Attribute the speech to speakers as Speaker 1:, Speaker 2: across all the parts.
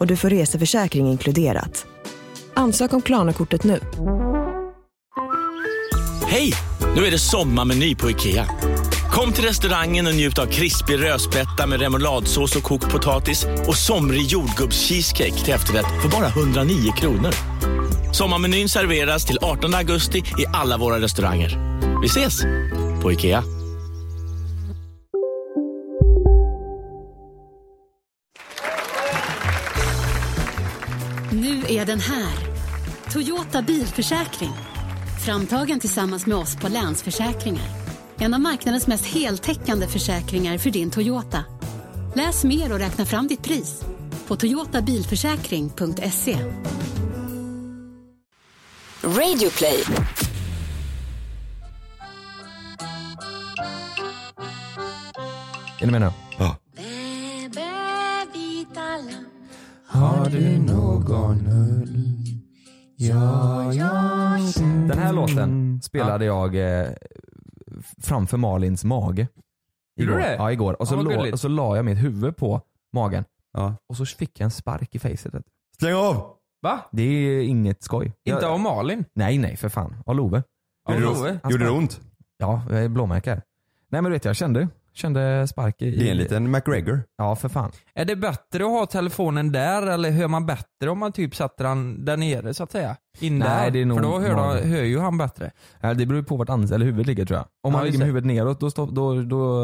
Speaker 1: och du får reseförsäkring inkluderat. Ansök om Klarna-kortet nu.
Speaker 2: Hej! Nu är det sommarmeny på IKEA. Kom till restaurangen och njut av krispig rödspätta med remouladsås och kokt potatis och somrig jordgubbscheesecake till efterrätt för bara 109 kronor. Sommarmenyn serveras till 18 augusti i alla våra restauranger. Vi ses! På IKEA.
Speaker 3: Nu är den här. Toyota bilförsäkring. Framtagen tillsammans med oss på Länsförsäkringar. En av marknadens mest heltäckande försäkringar för din Toyota. Läs mer och räkna fram ditt pris på toyotabilförsäkring.se.
Speaker 4: Radio play.
Speaker 5: Är ni med nu?
Speaker 6: Ja.
Speaker 5: Har du någon ull? Ja, ja. Den här låten spelade jag eh, framför Malins mage.
Speaker 6: Gjorde
Speaker 5: Igår.
Speaker 6: du det?
Speaker 5: Ja, igår. Och så,
Speaker 6: Ja, vad
Speaker 5: lå,
Speaker 6: gulligt.
Speaker 5: och så la jag mitt huvud på magen.
Speaker 6: Ja.
Speaker 5: Och så fick jag en spark i facet.
Speaker 6: Släng av! Va?
Speaker 5: Det är inget skoj.
Speaker 6: Inte
Speaker 5: jag,
Speaker 6: av Malin?
Speaker 5: Nej, nej för fan. Av Love.
Speaker 6: Gjorde det,
Speaker 5: Han
Speaker 6: gjorde det
Speaker 5: spark-
Speaker 6: ont?
Speaker 5: Ja, jag är blåmärke här. Nej men du vet jag kände, kände spark i...
Speaker 6: Det är en liten McGregor.
Speaker 5: Ja för fan.
Speaker 7: Är det bättre att ha telefonen där eller hör man bättre om man typ sätter den där nere så att säga? In
Speaker 5: Nej,
Speaker 7: där?
Speaker 5: det är nog
Speaker 7: För då hör,
Speaker 5: vanligt.
Speaker 7: han, hör ju han bättre.
Speaker 5: Ja, Det beror ju på vart ans- eller huvudet ligger tror jag. Om
Speaker 7: Ja,
Speaker 5: man ligger
Speaker 7: just
Speaker 5: med
Speaker 7: det.
Speaker 5: huvudet neråt då, stå, då, då...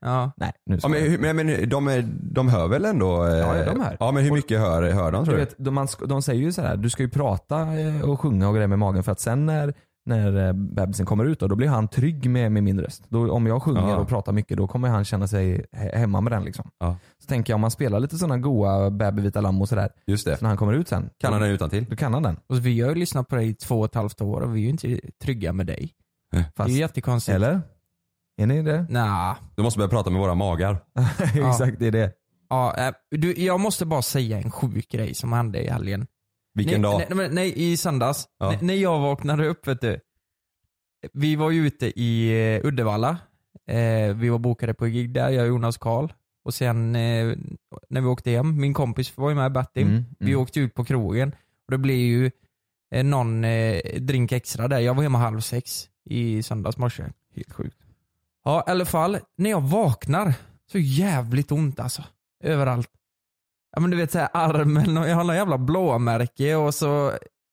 Speaker 7: Ja.
Speaker 5: Nej nu
Speaker 6: Ja,
Speaker 5: ska
Speaker 6: men,
Speaker 5: jag.
Speaker 6: hur- men, men de, är, de hör väl ändå? eh,
Speaker 5: Ja, ja, de hör.
Speaker 6: Ja men hur mycket hör, hör de tror
Speaker 5: Du
Speaker 6: du?
Speaker 5: vet, de, man, sk- de säger ju sådär, du ska ju prata eh, och sjunga och grejer med magen för att sen när, när eh, bebisen kommer ut då, då blir han trygg med, med min röst. Då, om jag sjunger
Speaker 6: Ja.
Speaker 5: och pratar mycket då kommer han känna sig he- hemma med den liksom.
Speaker 6: Ja.
Speaker 5: Så tänker jag om man spelar lite sådana goa babyvita lamm och sådär.
Speaker 6: Just det.
Speaker 5: Så när han kommer ut sen.
Speaker 6: Kan han den utan till?
Speaker 5: Då kan han den.
Speaker 7: Och vi har ju lyssnat på dig i två och ett halvt år och vi är ju inte trygga med dig.
Speaker 5: Fast,
Speaker 7: Det är ju jättekonstigt.
Speaker 5: eller? Är ni det?
Speaker 7: Nja.
Speaker 6: Du måste börja prata med våra magar.
Speaker 7: Ja.
Speaker 5: Exakt, det är det.
Speaker 7: Ja, eh, du, jag måste bara säga en sjuk grej som hände i helgen.
Speaker 6: Vilken
Speaker 7: nej,
Speaker 6: dag?
Speaker 7: Nej, men nej, i söndags.
Speaker 6: Ja.
Speaker 7: N- när jag vaknade upp vet du. Vi var ju ute i eh, Uddevalla. Eh, vi var bokade på gig där, jag och Jonas Karl. Och sen eh, när vi åkte hem, min kompis var ju med, Bertil.
Speaker 5: Mm,
Speaker 7: Vi
Speaker 5: mm.
Speaker 7: åkte ut på krogen. Och det blev ju eh, någon eh, drink extra där. Jag var hemma halv sex i söndags morse.
Speaker 5: Helt sjukt.
Speaker 7: Ja, i alla fall. När jag vaknar så jävligt ont alltså. Överallt. Ja men du vet såhär armen och jag har någon jävla blåmärke och så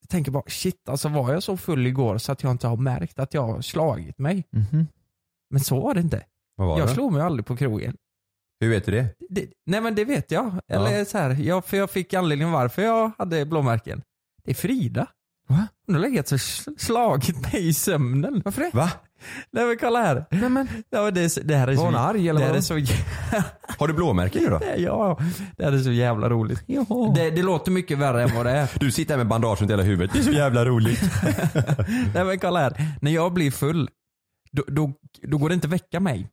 Speaker 7: tänker jag bara shit alltså var jag så full igår så att jag inte har märkt att jag har slagit mig?
Speaker 5: mm, mhm.
Speaker 7: Men så var det inte.
Speaker 6: Vad var
Speaker 7: jag
Speaker 6: det?
Speaker 7: slog mig aldrig på krogen.
Speaker 6: Hur vet du det?
Speaker 7: Det, nej men det vet jag. Eller så här, jag, för jag fick anledningen varför jag hade blåmärken. Det är Frida. Va? Hon har legat och sl- slagit mig i sömnen. Varför det?
Speaker 6: Va?
Speaker 7: Nej men kolla här. Nej, men, ja, men det, är så- det här är
Speaker 5: Var
Speaker 7: så
Speaker 5: hon arg eller
Speaker 7: det här
Speaker 5: vad?
Speaker 7: är så jä-
Speaker 6: Har du blåmärken nu då?
Speaker 7: Ja, det här är så jävla roligt. Det, det låter mycket värre än vad det är.
Speaker 6: Du sitter här med bandage runt hela huvudet. Det är så jävla roligt.
Speaker 7: Nej men kolla här. När jag blir full, då, då, då går det inte att väcka mig.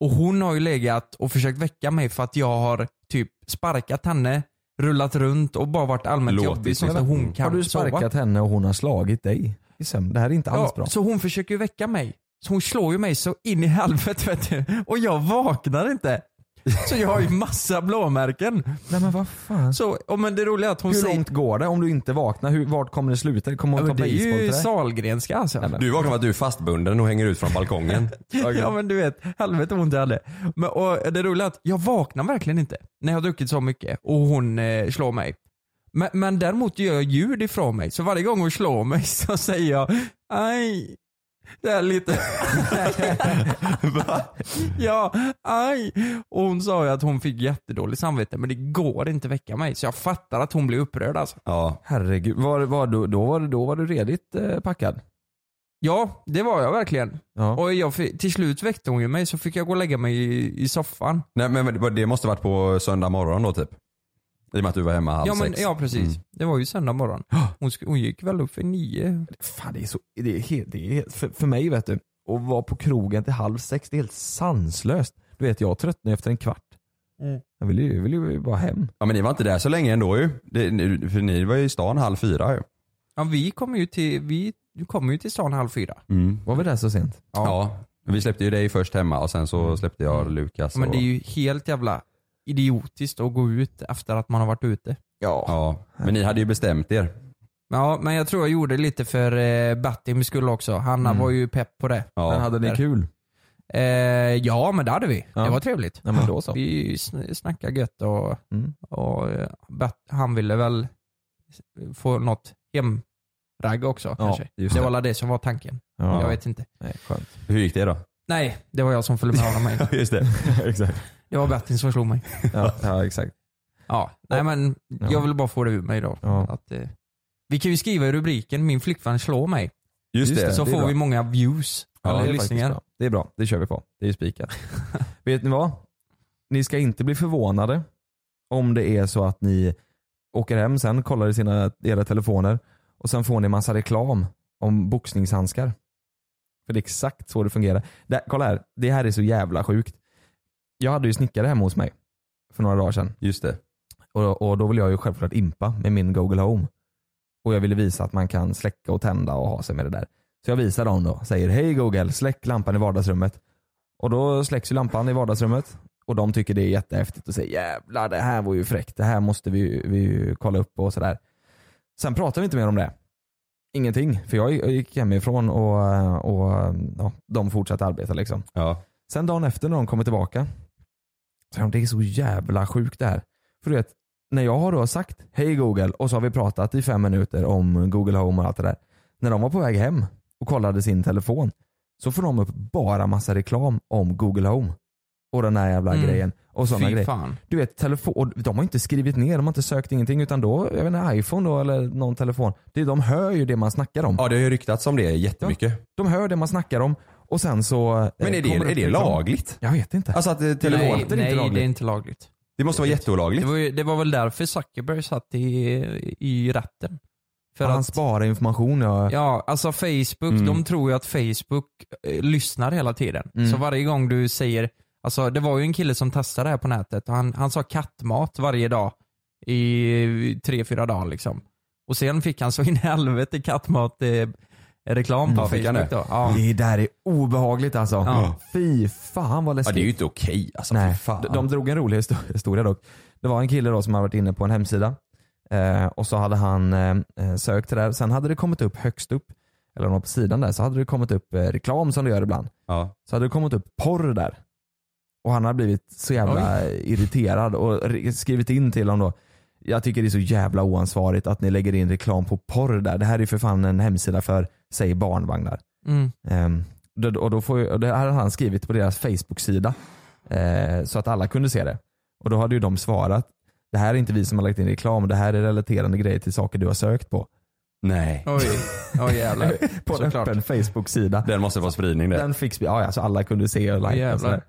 Speaker 7: Och hon har ju legat och försökt väcka mig för att jag har typ sparkat henne, rullat runt och bara varit allmänt
Speaker 6: Låtit
Speaker 7: jobbig så att
Speaker 6: liksom.
Speaker 7: hon kan
Speaker 5: Har du
Speaker 7: sova.
Speaker 5: sparkat henne och hon har slagit dig i sömn? Det här är inte alls bra.
Speaker 7: Ja, så hon försöker ju väcka mig. Så hon slår ju mig så in i helvete vet du. Och jag vaknar inte. Så jag har ju massa blåmärken.
Speaker 5: Nej men vad fan.
Speaker 7: Så, och men det roliga är att hon
Speaker 5: Hur
Speaker 7: säger...
Speaker 5: långt går det om du inte vaknar? Hur, vart kommer det sluta? Kommer
Speaker 7: Ja,
Speaker 5: hon
Speaker 7: men
Speaker 5: ta
Speaker 7: det är
Speaker 5: baseball till
Speaker 7: ju
Speaker 5: dig?
Speaker 7: Sahlgrenska alltså.
Speaker 6: Du vaknar med att du är fastbunden och hänger ut från balkongen.
Speaker 7: Ja men du vet, helvete vad ont jag hade. Men, och det roliga är att jag vaknar verkligen inte när jag har druckit så mycket och hon eh, slår mig. Men, men däremot gör jag ljud ifrån mig, så varje gång hon slår mig så säger jag aj. Det är lite... Ja, aj. Och hon sa ju att hon fick jättedåligt samvete men det går inte väcka mig så jag fattar att hon blir upprörd alltså.
Speaker 6: Ja.
Speaker 5: Herregud, var, var, du, då, var, du- då var du redigt eh, packad.
Speaker 7: Ja, det var jag verkligen.
Speaker 5: Ja.
Speaker 7: Och jag, fick- till slut väckte hon ju mig så fick jag gå och lägga mig i, i soffan.
Speaker 6: Nej men det måste varit på söndag morgon då typ. I och med att du var hemma halv
Speaker 7: Ja, men,
Speaker 6: sex.
Speaker 7: ja precis.
Speaker 6: Mm.
Speaker 7: Det var ju söndag morgon. Hon, sk- hon gick väl upp för nio.
Speaker 5: Fan det är så, det är helt, det är helt, för, för mig vet du, att vara på krogen till halv sex, det är helt sanslöst. Du vet jag tröttnade efter en kvart.
Speaker 7: Mm.
Speaker 5: Jag ville ju, jag ville ju bara hem.
Speaker 6: Ja men ni var inte där så länge ändå ju. Det, ni- för ni var ju i stan halv fyra ju.
Speaker 7: Ja, vi kom ju till, vi kom ju till stan halv fyra.
Speaker 6: Mm.
Speaker 5: Var vi där så sent?
Speaker 6: Ja. Vi släppte ju dig först hemma och sen så släppte jag Lukas.
Speaker 7: Men
Speaker 6: och-
Speaker 7: det är ju helt jävla idiotiskt att gå ut efter att man har varit ute.
Speaker 6: Ja, men ni hade ju bestämt er.
Speaker 7: Ja, men jag tror jag gjorde lite för eh, Battims skull också. Hanna
Speaker 5: Mm.
Speaker 7: var ju pepp på det.
Speaker 6: Ja.
Speaker 5: Men hade ni
Speaker 7: där.
Speaker 5: kul?
Speaker 7: Eh, ja, men det hade vi.
Speaker 5: Ja.
Speaker 7: Det var trevligt.
Speaker 5: Ja, men då så.
Speaker 7: Vi sn- snackade gött och,
Speaker 5: Mm.
Speaker 7: och eh, Bat- han ville väl få något hemragg också kanske.
Speaker 5: just
Speaker 7: Det
Speaker 5: det.
Speaker 7: var väl det som var tanken.
Speaker 5: Ja.
Speaker 7: Jag vet inte.
Speaker 5: Nej, skönt.
Speaker 6: Hur gick det då?
Speaker 7: Nej, det var jag som följde med honom. hem.
Speaker 6: just det.
Speaker 5: exakt.
Speaker 7: Det var Battin som slog mig.
Speaker 5: Ja, ja exakt.
Speaker 7: Ja, nej men
Speaker 5: Ja.
Speaker 7: jag vill bara få det ur mig då.
Speaker 5: Ja.
Speaker 7: Att, eh, vi kan ju skriva i rubriken 'Min flickvän slår mig'
Speaker 6: Just det.
Speaker 7: så
Speaker 5: det är
Speaker 7: får
Speaker 5: bra.
Speaker 7: vi många views.
Speaker 5: Ja, det
Speaker 7: eller
Speaker 5: är faktiskt
Speaker 7: lyssningar.
Speaker 5: bra. Det är bra, det kör vi på. Det är ju spikat. Vet ni vad? Ni ska inte bli förvånade om det är så att ni åker hem sen, kollar i sina, era telefoner och sen får ni massa reklam om boxningshandskar. För det är exakt så det fungerar. Där, kolla här, det här är så jävla sjukt. Jag hade ju snickare hemma hos mig för några dagar sedan.
Speaker 6: Just det.
Speaker 5: Och, och då vill jag ju självklart impa med min Google Home. Och jag ville visa att man kan släcka och tända och ha sig med det där. Så jag visar dem då. Säger hej Google, släck lampan i vardagsrummet. Och då släcks ju lampan i vardagsrummet. Och de tycker det är jättehäftigt och säger jävlar det här var ju fräckt. Det här måste vi, ju- vi ju kolla upp och sådär. Sen pratar vi inte mer om det. Ingenting. För jag gick hemifrån och, och ja, de fortsatte arbeta liksom.
Speaker 6: Ja.
Speaker 5: Sen dagen efter när de kommer tillbaka, så är de, det är så jävla sjukt det här. För du vet, när jag har då sagt hej Google och så har vi pratat i fem minuter om Google Home och allt det där. När de var på väg hem och kollade sin telefon så får de upp bara massa reklam om Google Home. Och den här jävla
Speaker 7: Mm.
Speaker 5: grejen. Och sådana
Speaker 7: Fy
Speaker 5: grejer.
Speaker 7: fan.
Speaker 5: Du vet telefon, och de har inte skrivit ner, de har inte sökt ingenting utan då, jag vet inte, iPhone då eller någon telefon. Det, de hör ju det man snackar om.
Speaker 6: ja, det har ju ryktats om det jättemycket.
Speaker 5: De hör det man snackar om och sen så... eh,
Speaker 6: Men är det,
Speaker 5: kommer upp
Speaker 6: är det
Speaker 5: reklam.
Speaker 6: lagligt?
Speaker 5: Jag vet inte.
Speaker 6: Alltså att eh, telefon...
Speaker 7: nej,
Speaker 5: det är inte
Speaker 7: nej, det
Speaker 5: lagligt.
Speaker 7: är inte lagligt.
Speaker 6: Det måste vara
Speaker 7: Det
Speaker 6: jätteolagligt.
Speaker 7: var, ju, det var väl därför Zuckerberg satt i, i rätten. För
Speaker 5: han
Speaker 7: att,
Speaker 5: sparar information. Ja.
Speaker 7: ja, alltså Facebook,
Speaker 5: Mm.
Speaker 7: de tror ju att Facebook eh, lyssnar hela tiden.
Speaker 5: Mm.
Speaker 7: Så varje gång du säger, alltså det var ju en kille som testade det här på nätet och han, han sa kattmat varje dag i tre, fyra dagar liksom. Och sen fick han så in i helvete kattmat eh, reklam på
Speaker 6: Ja, fick han
Speaker 7: Facebook då. Ja.
Speaker 5: Det där är obehagligt alltså.
Speaker 7: Ja.
Speaker 5: Fy fan vad
Speaker 6: Ja,
Speaker 5: läskigt.
Speaker 6: det är ju inte okej alltså.
Speaker 5: Nej.
Speaker 6: Fy Fan.
Speaker 5: De, de drog en rolig histo- historia dock. Det var en kille då som hade varit inne på en hemsida eh, och så hade han eh, sökt det där. Sen hade det kommit upp högst upp, eller om det var på sidan där, så hade det kommit upp eh, reklam som det gör ibland.
Speaker 6: Ja.
Speaker 5: Så hade det kommit upp porr där. Och han hade blivit så jävla irriterad och re- skrivit in till honom då. Jag tycker det är så jävla oansvarigt att ni lägger in reklam på porr där. Det här är ju för fan en hemsida för, säg barnvagnar.
Speaker 7: Mm.
Speaker 5: Ehm, då, och då får, ju- och det här hade han skrivit på deras Facebook-sida eh, så att alla kunde se det. Och då hade ju de svarat, det här är inte vi som har lagt in reklam, det här är relaterande grejer till saker du har sökt på.
Speaker 6: Nej.
Speaker 7: Oj, oj jävlar.
Speaker 5: På en
Speaker 7: Såklart.
Speaker 5: öppen Facebook-sida.
Speaker 6: Den måste få spridning där.
Speaker 5: Den fick, sp- ja, ja, så alla kunde se och like
Speaker 7: Jävlar.
Speaker 5: och sådär.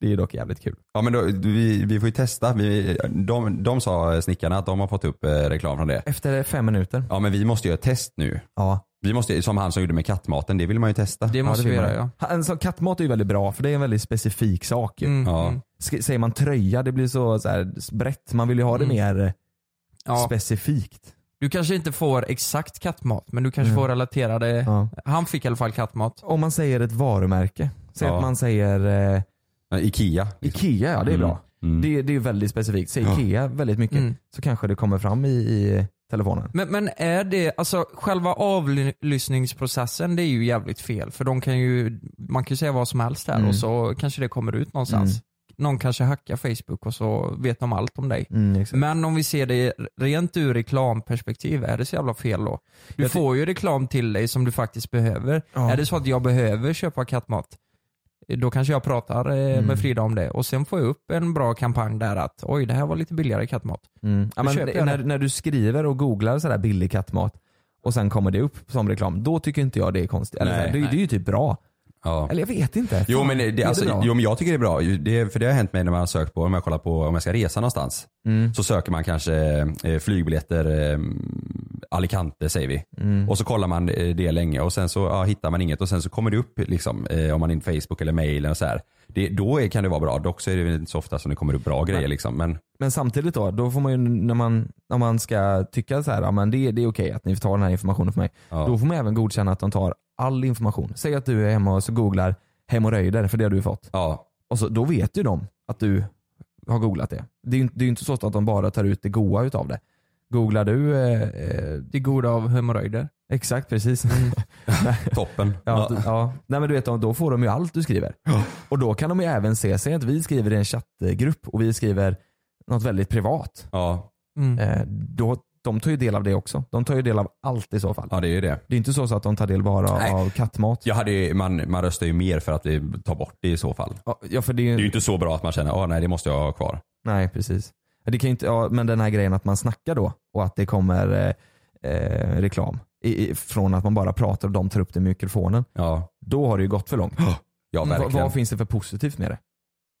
Speaker 5: Det är ju dock jävligt kul.
Speaker 6: Ja men då, vi, vi får ju testa. Vi, de, de sa eh, snickarna att de har fått upp eh, reklam från det.
Speaker 5: Efter fem minuter.
Speaker 6: Ja men vi måste göra ett test nu.
Speaker 5: Ja.
Speaker 6: Vi måste, som han som gjorde med kattmaten, det vill man ju testa.
Speaker 7: Det måste
Speaker 5: det
Speaker 7: vi
Speaker 5: vill
Speaker 7: göra
Speaker 5: man.
Speaker 7: ja.
Speaker 5: Ha- En sån kattmat är ju väldigt bra för det är en väldigt specifik sak ju.
Speaker 7: Mm,
Speaker 6: Ja.
Speaker 7: mm.
Speaker 5: Sk- Säger man tröja, det blir så, så här, brett. Man vill ju ha det
Speaker 7: Mm.
Speaker 5: mer eh,
Speaker 7: Ja.
Speaker 5: specifikt.
Speaker 7: Du kanske inte får exakt kattmat, men du kanske
Speaker 5: Mm.
Speaker 7: får relaterade.
Speaker 5: Ja.
Speaker 7: Han fick i alla fall kattmat.
Speaker 5: Om man säger ett varumärke. Säg
Speaker 6: Ja.
Speaker 5: att man säger eh,
Speaker 6: Ja, Ikea.
Speaker 5: Ikea, ja det är
Speaker 6: Mm.
Speaker 5: bra.
Speaker 6: Mm.
Speaker 5: Det, det är ju väldigt specifikt. Säg
Speaker 6: Ja.
Speaker 5: Ikea väldigt mycket
Speaker 7: Mm.
Speaker 5: så kanske det kommer fram i, i telefonen.
Speaker 7: Men, men är det, alltså själva avlyssningsprocessen det är ju jävligt fel. För de kan ju, man kan ju säga vad som helst här
Speaker 5: Mm.
Speaker 7: och så kanske det kommer ut någonstans.
Speaker 5: Mm.
Speaker 7: Någon kanske hackar Facebook och så vet de allt om dig.
Speaker 5: Mm, exakt.
Speaker 7: Men om vi ser det rent ur reklamperspektiv, är det så jävla fel då? Du
Speaker 5: Jag ty-
Speaker 7: får ju reklam till dig som du faktiskt behöver.
Speaker 5: Ja.
Speaker 7: Är det så att jag behöver köpa kattmat, då kanske jag pratar eh,
Speaker 5: Mm.
Speaker 7: med Frida om det. Och sen får jag upp en bra kampanj där att oj, det här var lite billigare kattmat.
Speaker 5: Mm. Ja,
Speaker 7: Då
Speaker 5: men
Speaker 7: köper
Speaker 5: det-
Speaker 7: jag
Speaker 5: när,
Speaker 7: det.
Speaker 5: när du skriver och googlar sådär billig kattmat och sen kommer det upp som reklam, då tycker inte jag det är konstigt. Eller
Speaker 6: Nej.
Speaker 5: såhär, det, det är ju typ bra.
Speaker 6: Ja.
Speaker 5: Eller jag vet inte.
Speaker 6: Jo
Speaker 5: Fan,
Speaker 6: men,
Speaker 5: är
Speaker 6: det, alltså,
Speaker 5: bra?
Speaker 6: jo men jag tycker det är bra. Ju, Det, för det har hänt mig när man har sökt på, om jag kollar på om jag ska resa någonstans.
Speaker 5: Mm.
Speaker 6: Så söker man kanske eh, flygbiljetter eh, Alicante säger vi.
Speaker 5: Mm.
Speaker 6: Och så kollar man eh, det länge och sen så ja, hittar man inget och sen så kommer det upp liksom, eh, om man är in Facebook eller mailen och så här. Det, då är, kan det vara bra. Dock så är det väl inte så ofta som det kommer upp bra grejer liksom. Men
Speaker 5: Men samtidigt då, då får man ju när man, när man ska tycka så här, ja, men det, det är okej att ni tar den här informationen för mig.
Speaker 6: ja.
Speaker 5: Då får man även godkänna att de tar all information. Säg att du är hemma och så googlar hemorrojder, för det har du ju fått.
Speaker 6: ja.
Speaker 5: Och så, då vet ju de att du har googlat det. Det är ju inte- det är ju inte så att de bara tar ut det goa utav det. Googlar du... Eh, eh,
Speaker 7: Det goda av hemorrojder.
Speaker 5: exakt, precis.
Speaker 6: Toppen.
Speaker 5: Ja, d- ja. Nej men du vet, då får de ju allt du skriver. Och då kan de ju även se, säg att vi skriver i en chattgrupp och vi skriver något väldigt privat.
Speaker 6: Ja.
Speaker 7: Mm.
Speaker 5: Eh, då, de tar ju del av det också. De tar ju del av allt i så fall.
Speaker 6: ja, det är ju det.
Speaker 5: Det är inte så, så att de tar del bara
Speaker 6: Nej.
Speaker 5: av kattmat.
Speaker 6: Jag hade, ju- man, man röstar ju mer för att vi tar bort det i så fall.
Speaker 5: Ja, Ja, för det är
Speaker 6: Det är
Speaker 5: ju,
Speaker 6: ju inte så bra att man känner, ah, nej det måste jag ha kvar.
Speaker 5: Nej precis. Ja, Det kan ju inte, ja, men den här grejen att man snackar då och att det kommer eh, eh, reklam i, i, från att man bara pratar och de tar upp det i mikrofonen.
Speaker 6: Ja,
Speaker 5: Då har det ju gått för långt.
Speaker 6: ja
Speaker 5: Va-
Speaker 6: verkligen.
Speaker 5: vad finns det för positivt med det?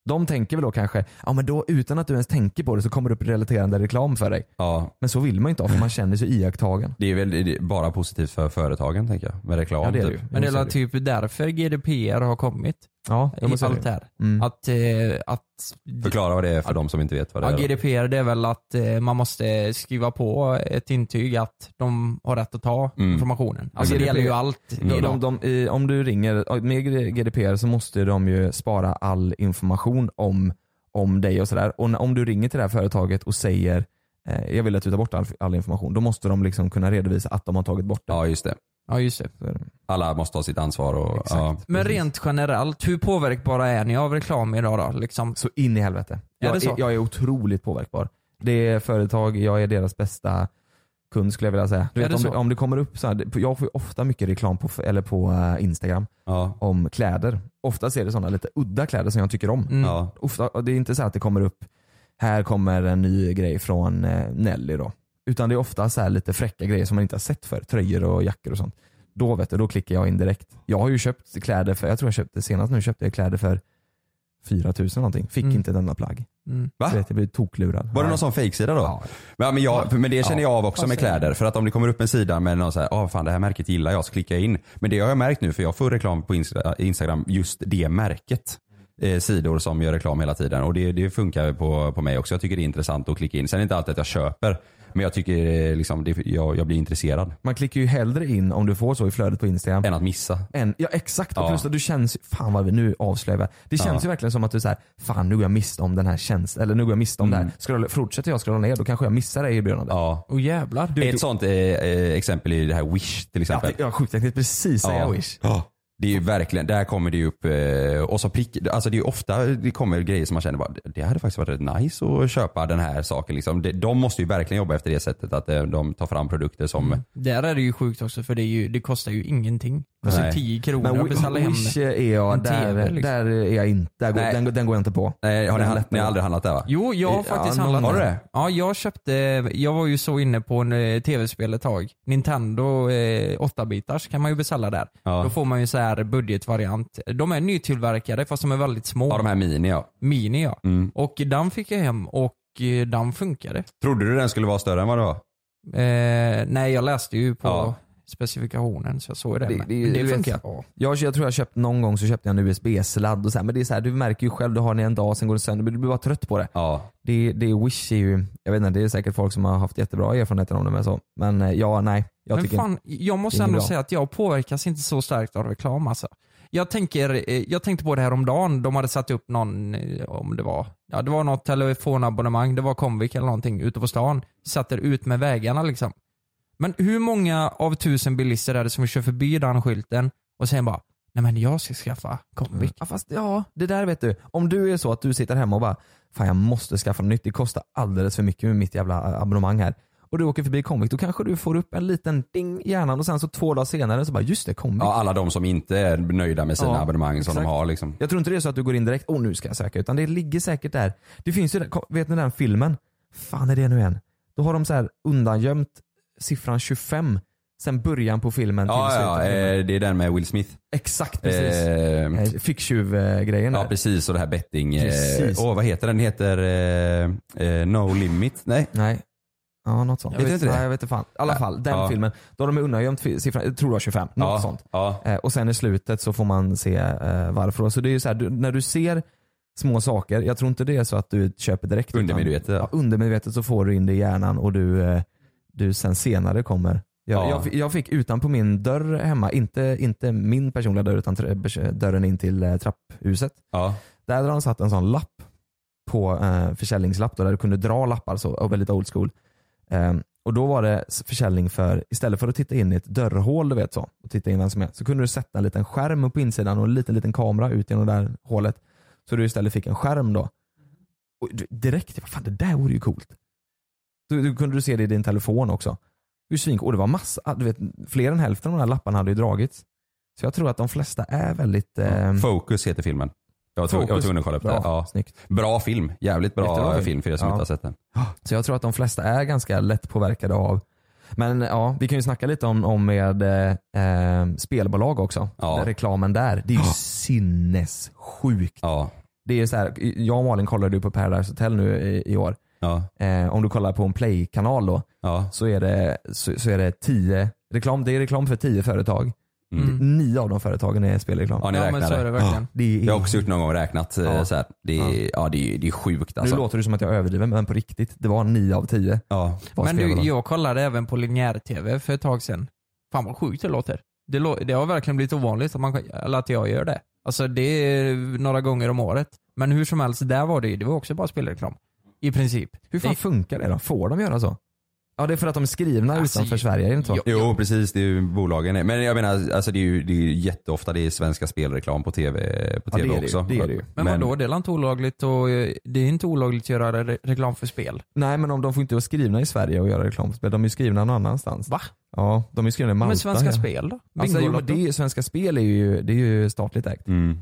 Speaker 5: De tänker väl då kanske, ja men då utan att du ens tänker på det så kommer det upp relaterande reklam för dig.
Speaker 6: ja,
Speaker 5: Men så vill man ju inte ha för man känner sig iakttagen.
Speaker 6: det är väl det är bara positivt för företagen tänker jag. Med reklam.
Speaker 5: Ja det är det ju.
Speaker 6: typ.
Speaker 7: Men det är
Speaker 5: Jo, så
Speaker 7: väl typ därför GDPR har kommit.
Speaker 5: Ja,
Speaker 7: I
Speaker 5: ja, men så är det
Speaker 7: allt
Speaker 5: ju.
Speaker 7: det här.
Speaker 5: Mm.
Speaker 7: Att, eh, att
Speaker 6: Förklara vad det är för de som inte vet vad det
Speaker 7: ja,
Speaker 6: är.
Speaker 7: GDPR det är väl att eh, man måste skriva på ett intyg att de har rätt att ta
Speaker 6: Mm.
Speaker 7: informationen. Alltså
Speaker 5: Men
Speaker 7: det gäller ju
Speaker 5: GDPR
Speaker 7: allt
Speaker 6: Mm.
Speaker 5: De,
Speaker 7: idag.
Speaker 5: de, de, i, om du ringer, med GDPR så måste de ju spara all information om, om dig och sådär. Och när- om du ringer till det här företaget och säger eh, jag vill att du tar bort all, all information, då måste de liksom kunna redovisa att de har tagit bort det.
Speaker 6: Ja just det.
Speaker 7: Ja just det.
Speaker 5: Så är det.
Speaker 6: Alla måste ha sitt ansvar och
Speaker 5: Exakt.
Speaker 6: ja.
Speaker 7: Men
Speaker 5: Precis.
Speaker 7: rent generellt, hur påverkbara är ni av reklam idag då? Liksom,
Speaker 5: Så in i helvete.
Speaker 7: Är det
Speaker 5: Jag
Speaker 7: så?
Speaker 5: är, jag är otroligt påverkbar. Det är företag, jag är deras bästa kund skulle jag vilja säga. Du
Speaker 7: Är
Speaker 5: vet,
Speaker 7: det
Speaker 5: om,
Speaker 7: så?
Speaker 5: det- om det kommer upp så här, det- jag får ju ofta mycket reklam på, f- eller på eh, Instagram
Speaker 6: Ja.
Speaker 5: om kläder. Ofta är det sådana lite udda kläder som jag tycker om.
Speaker 7: Mm.
Speaker 6: Ja.
Speaker 5: ofta, och det är inte så att det kommer upp, här kommer en ny grej från eh, Nelly då. Utan det är ofta så här lite fräcka grejer som man inte har sett för tröjor och jackor och sånt. Då vet du, då klickar jag in direkt. Jag har ju köpt kläder för, jag tror jag köpte senast nu köpte jag kläder för 4000 någonting. Fick
Speaker 7: Mm.
Speaker 5: inte denna plagg.
Speaker 7: Mm.
Speaker 6: Va?
Speaker 5: Så vet, jag blev toklurad.
Speaker 6: Var det
Speaker 5: Ja.
Speaker 6: någon sån fejksida då?
Speaker 5: Ja.
Speaker 6: Men, men, jag, men det känner jag av också
Speaker 7: Vad
Speaker 6: med
Speaker 7: säger
Speaker 6: kläder. För att om det kommer upp en sida med någon så här, ah, fan det här märket gillar jag, så klickar jag in. Men det har jag märkt nu, för jag får reklam på Insta- Instagram, just det märket. Eh, sidor som gör reklam hela tiden och det, det funkar på, på mig också. Jag tycker det är intressant att klicka in. Sen är det inte alltid att jag köper, men jag tycker eh, liksom, det, jag, jag blir intresserad.
Speaker 5: Man klickar ju hellre in om du får så i flödet på Instagram.
Speaker 6: Än att missa.
Speaker 5: En, ja exakt, och
Speaker 6: Ja.
Speaker 5: plus att du känns, fan vad vi nu avslöjar vi. Det känns ju verkligen som att du säger fan nu går jag miste om den här tjänsten, eller nu går jag miste om det här. Scrolla, fortsätter jag scrolla ner då kanske jag missar det erbjudandet.
Speaker 6: Ja.
Speaker 7: Oh, jävlar.
Speaker 6: Ett sånt eh, eh, exempel är det här Wish till
Speaker 5: Ja,
Speaker 6: exempel.
Speaker 5: det- jag sjukt tänkte precis säga Wish.
Speaker 6: Ja. Det är ju verkligen, där kommer det ju upp eh, och så prick, alltså det är ju ofta det kommer grejer som man känner bara, det hade faktiskt varit rätt nice att köpa den här saken liksom. De, de måste ju verkligen jobba efter det sättet att eh, de tar fram produkter som,
Speaker 7: Där är det ju sjukt också för det, är ju, det kostar ju ingenting. Alltså
Speaker 6: Nej.
Speaker 7: 10
Speaker 5: Men
Speaker 7: kronor att beställa
Speaker 5: Wi-
Speaker 7: hem.
Speaker 5: Wish är jag,
Speaker 7: en
Speaker 5: där,
Speaker 7: TV, liksom.
Speaker 5: där är jag inte, där går,
Speaker 6: Nej.
Speaker 5: den, den går jag inte på.
Speaker 6: nej har ni,
Speaker 5: Den
Speaker 6: han-
Speaker 5: läppen.
Speaker 6: ni har aldrig handlat där va?
Speaker 7: Jo, jag har
Speaker 5: Ja,
Speaker 7: faktiskt
Speaker 5: någon-
Speaker 7: handlat
Speaker 5: Har du
Speaker 7: den.
Speaker 5: det?
Speaker 7: Ja, jag köpte, jag var ju så inne på en eh, tv-spel ett tag. Nintendo eh, 8-bitars kan man ju beställa där.
Speaker 6: Ja.
Speaker 7: Då får man ju så här budgetvariant. De är nytillverkade fast de är väldigt små.
Speaker 6: Ja de här mini ja.
Speaker 7: Mini ja.
Speaker 6: Mm.
Speaker 7: Och den fick jag hem och eh, den funkade.
Speaker 6: Trodde du den skulle vara större än vad det var?
Speaker 7: Eh, nej, jag läste ju på
Speaker 6: Ja.
Speaker 7: specifikationen så jag såg det.
Speaker 5: Det-
Speaker 7: Det,
Speaker 5: det-
Speaker 7: det,
Speaker 5: du vet-
Speaker 7: funkar. Ja.
Speaker 5: Jag, jag tror jag köpt någon gång så köpte jag en USB-sladd och så här, men det är så här, du märker ju själv, du har den i en dag sen går det sönder, men du blir bara trött på det.
Speaker 6: Ja.
Speaker 5: Det, det Wish är ju, jag vet inte, det är säkert folk som har haft jättebra erfarenheter om det men så. Men eh, ja, nej. Jag
Speaker 7: men
Speaker 5: tycker
Speaker 7: fan, jag
Speaker 5: det
Speaker 7: måste
Speaker 5: är
Speaker 7: ändå
Speaker 5: bra.
Speaker 7: säga att jag påverkas inte så starkt av reklam alltså. Jag, tänker, eh, jag tänkte på det här om dagen. de hade satt upp någon, eh, om det var, ja det var något telefonabonnemang, det var Comviq eller någonting ute på stan. Satt där ut med vägarna liksom. Men hur många av tusen bilister är det som kör förbi den skylten och sen bara, nej men jag ska skaffa Comviq.
Speaker 5: Ja, fast, ja, det där vet du. Om du är så att du sitter hemma och bara Fan jag måste skaffa något nytt, det kostar alldeles för mycket med mitt jävla eh, abonnemang här. Och du åker förbi Comviq, då kanske du får upp en liten ding i hjärnan och sen så två dagar senare så bara just det, Comviq.
Speaker 6: ja. Alla de som inte är nöjda med sina
Speaker 5: Ja,
Speaker 6: abonnemang som
Speaker 5: exakt.
Speaker 6: de har liksom.
Speaker 5: Jag tror inte det är så att du går in direkt, åh nu ska jag söka, utan det ligger säkert där. Det finns ju, den- kom- vet ni den filmen? Fan är det nu igen? Då har de så här undangömt siffran 25 sen början på filmen till
Speaker 6: Ja,
Speaker 5: slutet. av
Speaker 6: ja
Speaker 5: filmen.
Speaker 6: eh, det är den med Will Smith.
Speaker 5: Exakt precis.
Speaker 6: Eh,
Speaker 5: Eh, Ficktjuv-grejen
Speaker 6: ja
Speaker 5: där.
Speaker 6: precis och det här betting. eh,
Speaker 5: Precis.
Speaker 6: Åh vad heter den? Den heter eh, eh, No Limit. Nej.
Speaker 5: Nej. Ja, något sånt.
Speaker 6: Jag vet inte det.
Speaker 5: Nej, jag vet inte fan. I alla
Speaker 6: Ja.
Speaker 5: fall, den
Speaker 6: Ja.
Speaker 5: filmen. Då har de undangömt fi- siffran, jag tror det var 25, något
Speaker 6: ja,
Speaker 5: sånt.
Speaker 6: Ja.
Speaker 5: Eh, och sen i slutet så får man se eh, varför. Så det är ju så här, du, när du ser små saker, jag tror inte det är så att du köper direkt. utan-
Speaker 6: Undermedvetet, ja.
Speaker 5: Ja, undermedvetet så får du in det i hjärnan och du, eh, du sen senare kommer. Jag,
Speaker 6: Ja.
Speaker 5: jag, fi- jag fick utanpå min dörr hemma, inte, inte min personliga dörr utan tr- bers- dörren in till eh, trapphuset.
Speaker 6: ja.
Speaker 5: Där hade de satt en sån lapp på eh, försäljningslapp då, där du kunde dra lappar så, och väldigt old school. Ehm, och då var det s- försäljning för, istället för att titta in i ett dörrhål du vet så, och titta in vem som är, så kunde du sätta en liten skärm på insidan och en liten, liten kamera ut genom det där hålet. Så du istället fick en skärm då. Och du- direkt, vad fan det där vore ju coolt. Du, du kunde du se det i din telefon också. Det är svin- Och det var massa, ah, du vet, fler än hälften av de här lapparna hade ju dragits. Så jag tror att de flesta är väldigt... ehm,
Speaker 6: Fokus heter filmen. Jag var tv- jag var
Speaker 5: Focus.
Speaker 6: tvungen att kolla upp det.
Speaker 5: Bra,
Speaker 6: Ja.
Speaker 5: snyggt.
Speaker 6: Bra film. Jävligt bra
Speaker 5: Jättebra film.
Speaker 6: film. för er som
Speaker 5: Ja.
Speaker 6: inte har sett den.
Speaker 5: Så jag tror att de flesta är ganska lätt påverkade av men ja, vi kan ju snacka lite om, om med eh, eh, spelbolag också.
Speaker 6: Ja.
Speaker 5: Den Reklamen där. Det är ju sinnessjukt.
Speaker 6: Ja.
Speaker 5: Det är så här, jag och Malin kollade ju på Paradise Hotel nu i, i år.
Speaker 6: Ja.
Speaker 5: Eh, om du kollar på en play-kanal då
Speaker 6: Ja.
Speaker 5: så är det, så, så är det tio reklam. Det är reklam för tio företag.
Speaker 6: Mm.
Speaker 5: Nio av de företagen är spelreklam.
Speaker 6: ja, ni
Speaker 7: Ja,
Speaker 6: räknade.
Speaker 7: men så är det verkligen.
Speaker 5: Det är,
Speaker 6: Jag har också gjort någon gång och räknat. eh,
Speaker 5: Ja.
Speaker 6: Så här. Det, är, ja. det, är, det är sjukt alltså.
Speaker 5: Nu låter det som att jag överdriver men på riktigt, det var nio av tio.
Speaker 6: ja.
Speaker 5: var
Speaker 7: Men du,
Speaker 5: spelbolag.
Speaker 7: jag kollade även på linjär-tv för ett tag sedan. Fan vad sjukt det låter. Det, lå- det har verkligen blivit ovanligt att, man, eller att jag gör det. Alltså det är några gånger om året. Men hur som helst, där var det ju, det var också bara spelreklam. I princip.
Speaker 5: Hur fan
Speaker 7: Det-
Speaker 5: funkar det då? Får de göra så? Ja det är för att de är skrivna
Speaker 7: Alltså,
Speaker 5: utanför Sverige, är det inte så?
Speaker 7: ja.
Speaker 6: Jo precis, det är ju bolagen. är. Men jag menar, alltså, det, är ju, det är ju jätteofta det är svenska spelreklam på tv, på
Speaker 5: Ja, det är
Speaker 6: TV
Speaker 5: det ju,
Speaker 6: också.
Speaker 5: det är det ju.
Speaker 7: Men, vadå, det är väl inte olagligt och eh, det är inte olagligt att göra re- reklam för spel?
Speaker 5: Nej men om de får inte vara skrivna i Sverige och göra reklam för spel. De är ju skrivna någon annanstans.
Speaker 7: Va?
Speaker 5: Ja, de är skrivna i Malta.
Speaker 7: men Svenska
Speaker 5: ja.
Speaker 7: Spel då?
Speaker 5: Alltså, jo, men det är,
Speaker 7: Bingolotto?
Speaker 5: ju- svenska Spel är ju, det är ju statligt ägt.
Speaker 6: Mm.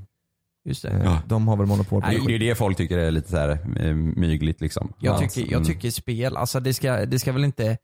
Speaker 7: Just det.
Speaker 5: Eh, De har väl monopol på
Speaker 6: Det,
Speaker 5: det.
Speaker 6: det är det folk tycker är lite så här eh, mygligt liksom.
Speaker 7: Jag
Speaker 6: Ja.
Speaker 7: tycker,
Speaker 6: Mm.
Speaker 7: jag tycker spel, alltså det ska, det ska väl inte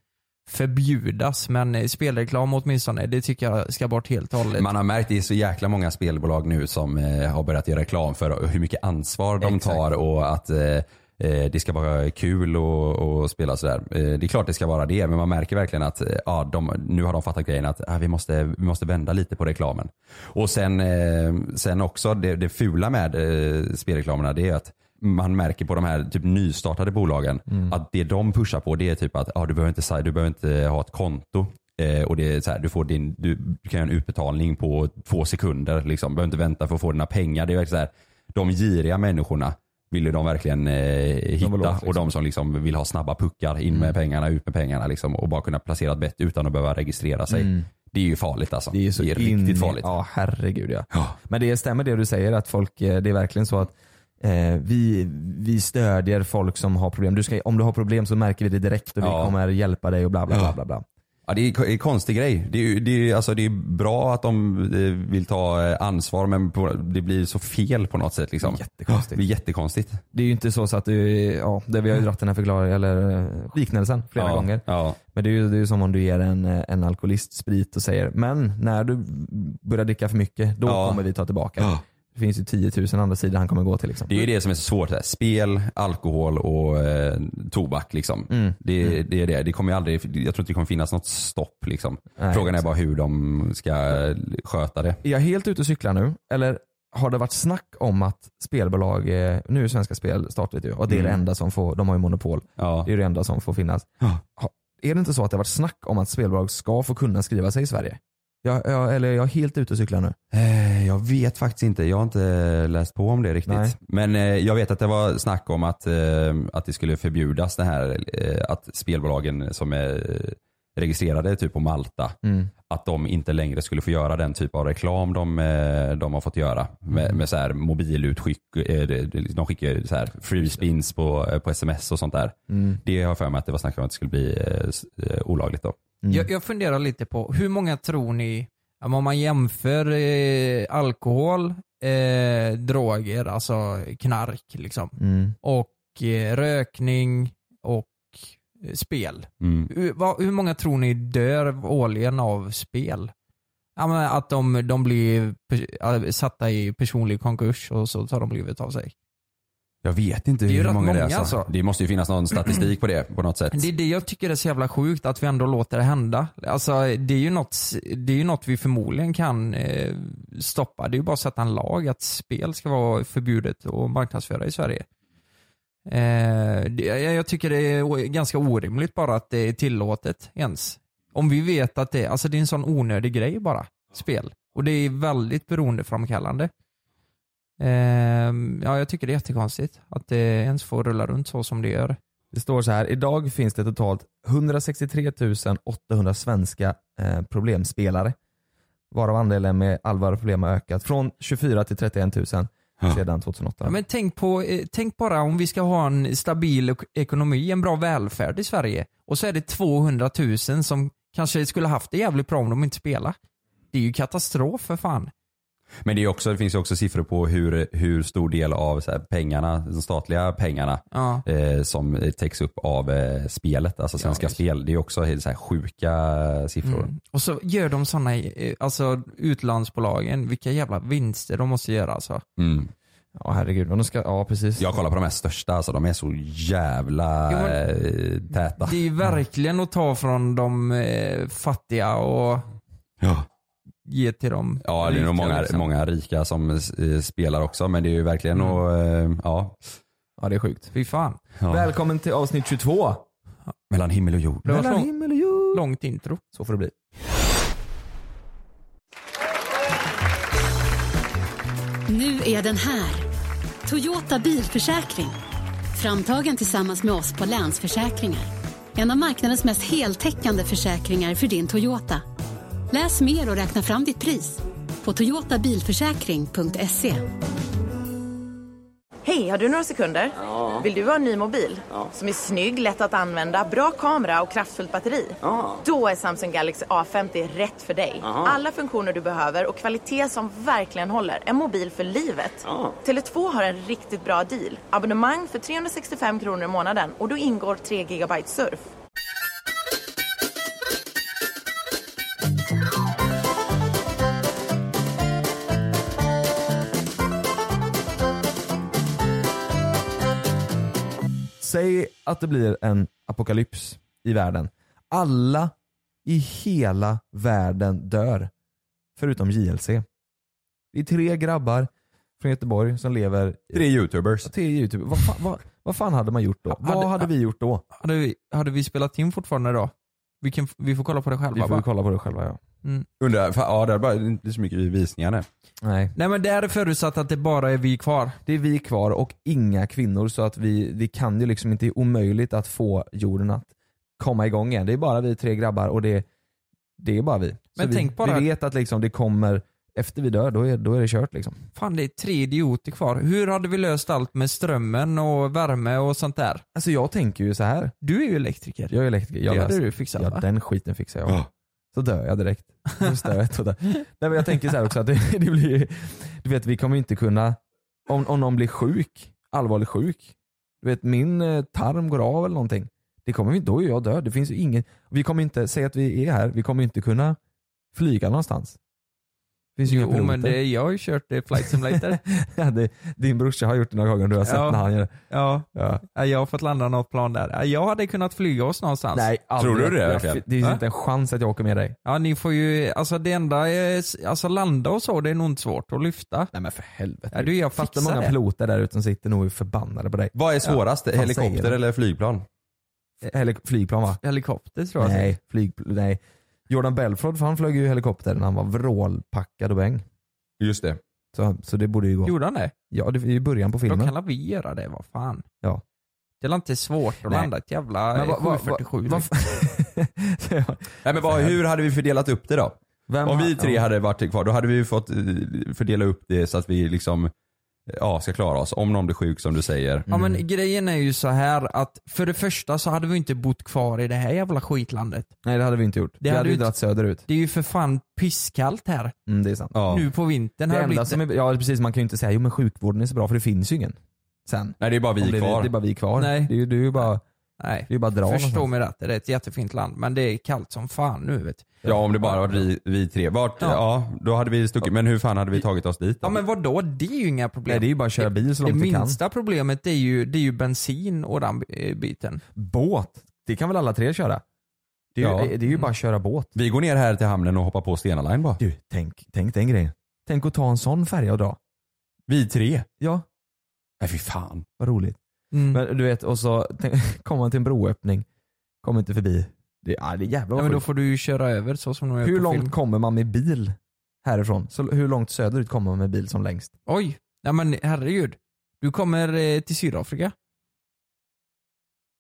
Speaker 7: förbjudas men eh, spelreklam åtminstone, det tycker jag ska bort helt och hållet.
Speaker 6: Man har märkt det är så jäkla många spelbolag nu som eh, har börjat göra reklam för hur mycket ansvar de
Speaker 5: Exakt.
Speaker 6: tar och att eh, eh, det ska vara kul och, och spela sådär. Eh, det är klart det ska vara det men man märker verkligen att eh, ja, de, nu har de fattat grejen att ah, vi, måste, vi måste vända lite på reklamen. Och sen, eh, sen också det, det fula med eh, spelreklamerna det är att man märker på de här typ nystartade bolagen att det de pushar på det är typ att ah, du, behöver inte, sa- du behöver inte ha ett konto. Eh, och det är så här, du, får din, du, du kan göra en utbetalning på två sekunder. Liksom. Du behöver inte vänta för att få dina pengar. Det är verkligen så här, de giriga människorna vill ju de verkligen eh, hitta.
Speaker 5: vill åt, liksom. Mm.
Speaker 6: Och de som liksom vill ha snabba puckar, in med pengarna, ut med pengarna liksom, och bara kunna placera ett bett utan att behöva registrera sig. Det är ju farligt alltså.
Speaker 5: Mm. Det är, så in i-
Speaker 6: riktigt farligt.
Speaker 5: Ja, herregud ja. Men det stämmer det du säger att folk, eh, det är verkligen så att eh, vi, vi stödjer folk som har problem. Du ska, om du har problem så märker vi det direkt och vi
Speaker 6: Ja.
Speaker 5: kommer hjälpa dig och bla bla bla.
Speaker 6: Ja.
Speaker 5: bla, bla.
Speaker 6: Ja, det är ko- en konstig grej. Det är, ju- det, är, ju- alltså, det är bra att de eh, vill ta eh, ansvar men på, det blir så fel på något sätt. Liksom.
Speaker 5: Jättekonstigt.
Speaker 6: Det blir jättekonstigt.
Speaker 5: Det är ju inte så, så att du, ja, det vi har ju dragit den här förklaringen, eller eh, liknelsen flera
Speaker 6: ja,
Speaker 5: gånger.
Speaker 6: Ja.
Speaker 5: Men det är ju det är ju som om du ger en, eh, en alkoholist sprit och säger men när du börjar dricka för mycket då
Speaker 6: Ja.
Speaker 5: kommer vi ta tillbaka.
Speaker 6: Ja.
Speaker 5: Det finns ju 10 000 andra sidor han kommer gå till. Liksom.
Speaker 6: Det är ju det som är så svårt. Här. Spel, alkohol och eh, tobak. Liksom.
Speaker 5: Mm.
Speaker 6: Det, det är det. Det kommer ju aldrig, jag tror inte det kommer finnas något stopp. Liksom.
Speaker 5: Nej,
Speaker 6: Frågan är bara hur de ska sköta det.
Speaker 5: Är jag helt ute och cyklar nu? Eller har det varit snack om att spelbolag, eh, nu är Svenska Spel statligt ju och det är det
Speaker 6: Mm.
Speaker 5: enda som får, de har ju monopol,
Speaker 6: Ja.
Speaker 5: det är det enda som får finnas. Ha- Är det inte så att det har varit snack om att spelbolag ska få kunna skriva sig i Sverige? Jag, jag, eller är jag helt ute och cyklar nu?
Speaker 6: Eh, Jag vet faktiskt inte. Jag har inte läst på om det riktigt.
Speaker 5: Nej.
Speaker 6: Men eh, jag vet att det var snack om att, eh, att det skulle förbjudas det här eh, att spelbolagen som är eh, registrerade typ på Malta,
Speaker 5: Mm.
Speaker 6: att de inte längre skulle få göra den typ av reklam de, eh, de har fått göra. Med, med så här mobilutskick, eh, det- det- de skickar ju så här free spins på, eh, på sms och sånt där.
Speaker 5: Mm.
Speaker 6: Det har jag för mig att det var snack om att det skulle bli eh, s- eh, olagligt då.
Speaker 5: Mm.
Speaker 7: Jag, jag funderar lite på, hur många tror ni, ja, men om man jämför eh, alkohol, eh, droger, alltså knark liksom,
Speaker 5: Mm.
Speaker 7: och eh, rökning och eh, spel.
Speaker 6: Mm.
Speaker 7: Hur, vad, hur många tror ni dör årligen av spel? Ja, men att de, de blir pe- ja, satta i personlig konkurs och så tar de livet av sig.
Speaker 6: Jag vet inte
Speaker 7: Det är ju
Speaker 6: hur
Speaker 7: rätt
Speaker 6: många, det är.
Speaker 7: många,
Speaker 6: Alltså.
Speaker 7: alltså.
Speaker 6: Det måste ju finnas någon statistik på det på något sätt.
Speaker 7: Det är det jag tycker är så jävla sjukt, att vi ändå låter det hända. Alltså, det är ju något, det är ju något vi förmodligen kan eh, stoppa. Det är ju bara att sätta en lag att spel ska vara förbjudet att marknadsföra i Sverige. Eh, det, jag, jag tycker det är o- ganska orimligt bara att det är tillåtet ens. Om vi vet att det, alltså det är en sån onödig grej bara, spel. Och det är väldigt beroendeframkallande. Eh, ja, jag tycker det är jättekonstigt att det ens får rulla runt så som det gör.
Speaker 5: Det står så här, idag finns det totalt 163 800 svenska eh, problemspelare. Varav andelen med allvarliga problem har ökat från 24 till 31 000
Speaker 6: Ja.
Speaker 5: sedan 2008.
Speaker 7: Ja, men tänk, på, eh, tänk bara om vi ska ha en stabil ek- ekonomi, en bra välfärd i Sverige och så är det 200 000 som kanske skulle haft det jävligt bra om de inte spelar. Det är ju katastrof för fan.
Speaker 6: Men det, är också, det finns ju också siffror på hur, hur stor del av så här, pengarna, de statliga pengarna
Speaker 7: Ja.
Speaker 6: eh, som eh, täcks upp av eh, spelet, alltså Svenska
Speaker 7: visst.
Speaker 6: Spel. Det är ju också helt så här, sjuka siffror.
Speaker 7: Mm. Och så gör de sådana, alltså utlandsbolagen, vilka jävla vinster de måste göra alltså.
Speaker 6: Mm.
Speaker 5: ja herregud, och de ska, ja precis.
Speaker 6: Jag kollar på de här största, alltså, de är så jävla
Speaker 7: Jo, men-
Speaker 6: eh, täta.
Speaker 7: Det är ju verkligen att ta från de eh, fattiga och
Speaker 6: Ja.
Speaker 7: ge till de liksom.
Speaker 6: Ja, det är nog många,
Speaker 5: liksom-
Speaker 6: många rika som eh, spelar också, men det är ju verkligen
Speaker 7: Mm.
Speaker 6: och, eh, ja,
Speaker 5: Ja det är sjukt.
Speaker 7: Fy fan.
Speaker 6: ja.
Speaker 5: Välkommen till avsnitt 22.
Speaker 6: mellan himmel och jord.
Speaker 7: Det var ett lång,
Speaker 5: himmel och jord.
Speaker 7: långt intro.
Speaker 5: Så får det bli.
Speaker 3: Nu är den här. Toyota bilförsäkring. Framtagen tillsammans med oss på Länsförsäkringar. En av marknadens mest heltäckande försäkringar för din Toyota. Läs mer och räkna fram ditt pris på toyotabilförsäkring.se.
Speaker 4: Hej, har du några sekunder? Vill du ha en ny mobil? Som är snygg, lätt att använda, bra kamera och kraftfullt batteri? Då är Samsung Galaxy A50 rätt för dig. Alla funktioner du behöver och kvalitet som verkligen håller. En mobil för livet. Tele2 har en riktigt bra deal. Abonnemang för 365 kronor i månaden och då ingår 3 GB surf.
Speaker 5: Säg att det blir en apokalyps i världen. Alla i hela världen dör. Förutom JLC. Det är tre grabbar från Göteborg som lever...
Speaker 6: Tre youtubers.
Speaker 5: Tre YouTube. Vad, fan, vad, vad fan hade man gjort då? Vad
Speaker 7: Hade-
Speaker 5: hade vi gjort då?
Speaker 7: Hade vi, hade vi spelat in fortfarande då? Vi, kan, vi får kolla på det själva
Speaker 5: Vi får
Speaker 7: va?
Speaker 5: ju kolla på det själva ja.
Speaker 6: Undrar, fan, ja det är bara det är inte så mycket visningar nu.
Speaker 5: Nej.
Speaker 7: Nej men det är förutsatt att det bara är vi kvar.
Speaker 5: Det är vi kvar och inga kvinnor så att vi, vi kan ju liksom inte, det är omöjligt att få jorden att komma igång igen. Det är bara vi tre grabbar och det, det är bara vi.
Speaker 7: Men
Speaker 5: så
Speaker 7: tänk
Speaker 5: vi,
Speaker 7: bara-
Speaker 5: vi vet att liksom det kommer, efter vi dör, då är, då är det kört liksom.
Speaker 7: Fan det är tre idioter kvar. Hur hade vi löst allt med strömmen och värme och sånt där?
Speaker 5: Alltså jag tänker ju så här.
Speaker 7: Du är ju elektriker.
Speaker 5: jag är elektriker, jag
Speaker 7: det hade
Speaker 5: löser-
Speaker 7: du fixat
Speaker 5: ja,
Speaker 7: typ va?
Speaker 5: den skiten fixar jag.
Speaker 6: Ja.
Speaker 5: Så dör jag direkt. Från stöt och dör. Nej men jag tänker så här också att det, det blir, du vet vi kommer ju inte kunna, om, om någon blir sjuk, allvarligt sjuk, du vet min eh, tarm går av eller någonting, det kommer vi, då är jag död. Det finns ju ingen, vi kommer inte, säg att vi är här, vi kommer ju inte kunna flyga någonstans. Det finns ju inga
Speaker 7: Jo
Speaker 5: piloter.
Speaker 7: men det, jag har ju kört det flight simulator.
Speaker 5: ja, det, din brorsa har gjort det några gånger och du har sett
Speaker 7: Ja.
Speaker 5: när han gör det.
Speaker 7: ja.
Speaker 5: Ja.
Speaker 7: ja, jag har fått landa något plan där. Ja, Jag hade kunnat flyga oss någonstans.
Speaker 5: Nej, aldrig.
Speaker 6: Tror du det
Speaker 5: Jag-
Speaker 6: verkligen?
Speaker 5: Det finns
Speaker 7: Va?
Speaker 5: inte en chans att jag åker med dig.
Speaker 7: Ja ni får ju, alltså det enda, är, s- alltså landa och så det är nog inte svårt att lyfta.
Speaker 5: Nej men för helvete.
Speaker 7: Ja, du, jag
Speaker 5: fattar
Speaker 7: fixar
Speaker 5: många
Speaker 7: det.
Speaker 5: piloter där ute som sitter nog och är förbannade på dig.
Speaker 6: Vad är svårast,
Speaker 5: fan säger
Speaker 6: helikopter
Speaker 5: du?
Speaker 6: eller flygplan?
Speaker 5: Eller Eh, flygplan va?
Speaker 7: Helikopter tror jag. typ.
Speaker 5: Nej, flyg, nej. Jordan Belford för han flög ju helikopter när han var vrålpackad och bäng.
Speaker 6: Just det.
Speaker 5: Så, så det borde ju gå.
Speaker 7: Gjorde han det?
Speaker 5: Ja, det är ju början på
Speaker 7: Då
Speaker 5: filmen.
Speaker 7: kan la vi göra det, vad fan.
Speaker 5: Ja.
Speaker 7: Det är inte svårt att
Speaker 5: Nej.
Speaker 7: landa ett jävla
Speaker 5: Men
Speaker 7: eh,
Speaker 5: vad- vad-
Speaker 7: 747.
Speaker 5: vad- Så jag-
Speaker 6: Nej, men vad, hur hade vi fördelat upp det då?
Speaker 5: Vem
Speaker 6: Om
Speaker 5: har-
Speaker 6: vi tre
Speaker 5: ja.
Speaker 6: hade varit kvar, då hade vi ju fått eh, fördela upp det så att vi liksom eh, ja, ska klara oss. Om någon blir sjuk som du säger.
Speaker 7: Ja men grejen är ju så här att för det första så hade vi inte bott kvar i det här jävla skitlandet.
Speaker 5: Nej det hade vi inte gjort. vi
Speaker 7: hade
Speaker 5: hade
Speaker 7: vi
Speaker 5: ju
Speaker 7: inte-
Speaker 5: dragit söderut.
Speaker 7: Det är ju för fan pisskallt här
Speaker 5: Mm, det är sant.
Speaker 6: Ja.
Speaker 7: nu på vintern.
Speaker 5: Det
Speaker 7: har
Speaker 5: enda
Speaker 7: blivit...
Speaker 5: som är, ja precis, man kan ju inte säga jo men sjukvården är så bra för det finns ju ingen. Sen.
Speaker 6: Nej det är bara
Speaker 5: Om det,
Speaker 6: vi
Speaker 5: är vi-
Speaker 6: kvar.
Speaker 5: det är bara vi kvar.
Speaker 7: Nej.
Speaker 5: Det är ju det är ju bara
Speaker 7: Nej.
Speaker 5: Det är ju bara att dra
Speaker 7: Förstå
Speaker 5: någonstans.
Speaker 7: mig rätt, det är ett jättefint land men det är kallt som fan nu vet du.
Speaker 6: Ja om det bara var vi, vi tre. Vart, ja.
Speaker 7: Ja.
Speaker 6: då hade vi stuckit. Men hur fan hade vi tagit oss dit? då?
Speaker 7: Ja men vadå, det är ju inga problem.
Speaker 5: Nej, det är ju bara att köra bil så
Speaker 7: Det
Speaker 5: långt du kan.
Speaker 7: minsta problemet det är, ju, det är ju bensin och den eh, biten.
Speaker 5: Båt, det kan väl alla tre köra? Det är ju,
Speaker 6: Ja.
Speaker 5: det är ju bara att köra båt.
Speaker 6: Vi går ner här till hamnen och hoppar på Stena Line bara.
Speaker 5: Du, tänk, tänk den grejen. Tänk att ta en sån färja och dra.
Speaker 6: Vi tre?
Speaker 5: Ja,
Speaker 6: Nej fy fan.
Speaker 5: vad roligt.
Speaker 7: Mm.
Speaker 5: Men du vet, och så tänk- kommer man till en broöppning, kommer inte förbi. Det, ja, det är jävla
Speaker 7: ja, men då får du ju köra över så som de gör
Speaker 5: Hur
Speaker 7: på
Speaker 5: långt
Speaker 7: film.
Speaker 5: kommer man med bil härifrån? Så, hur långt söderut kommer man med bil som längst?
Speaker 7: Oj, nej men herregud. Du kommer eh, till Sydafrika.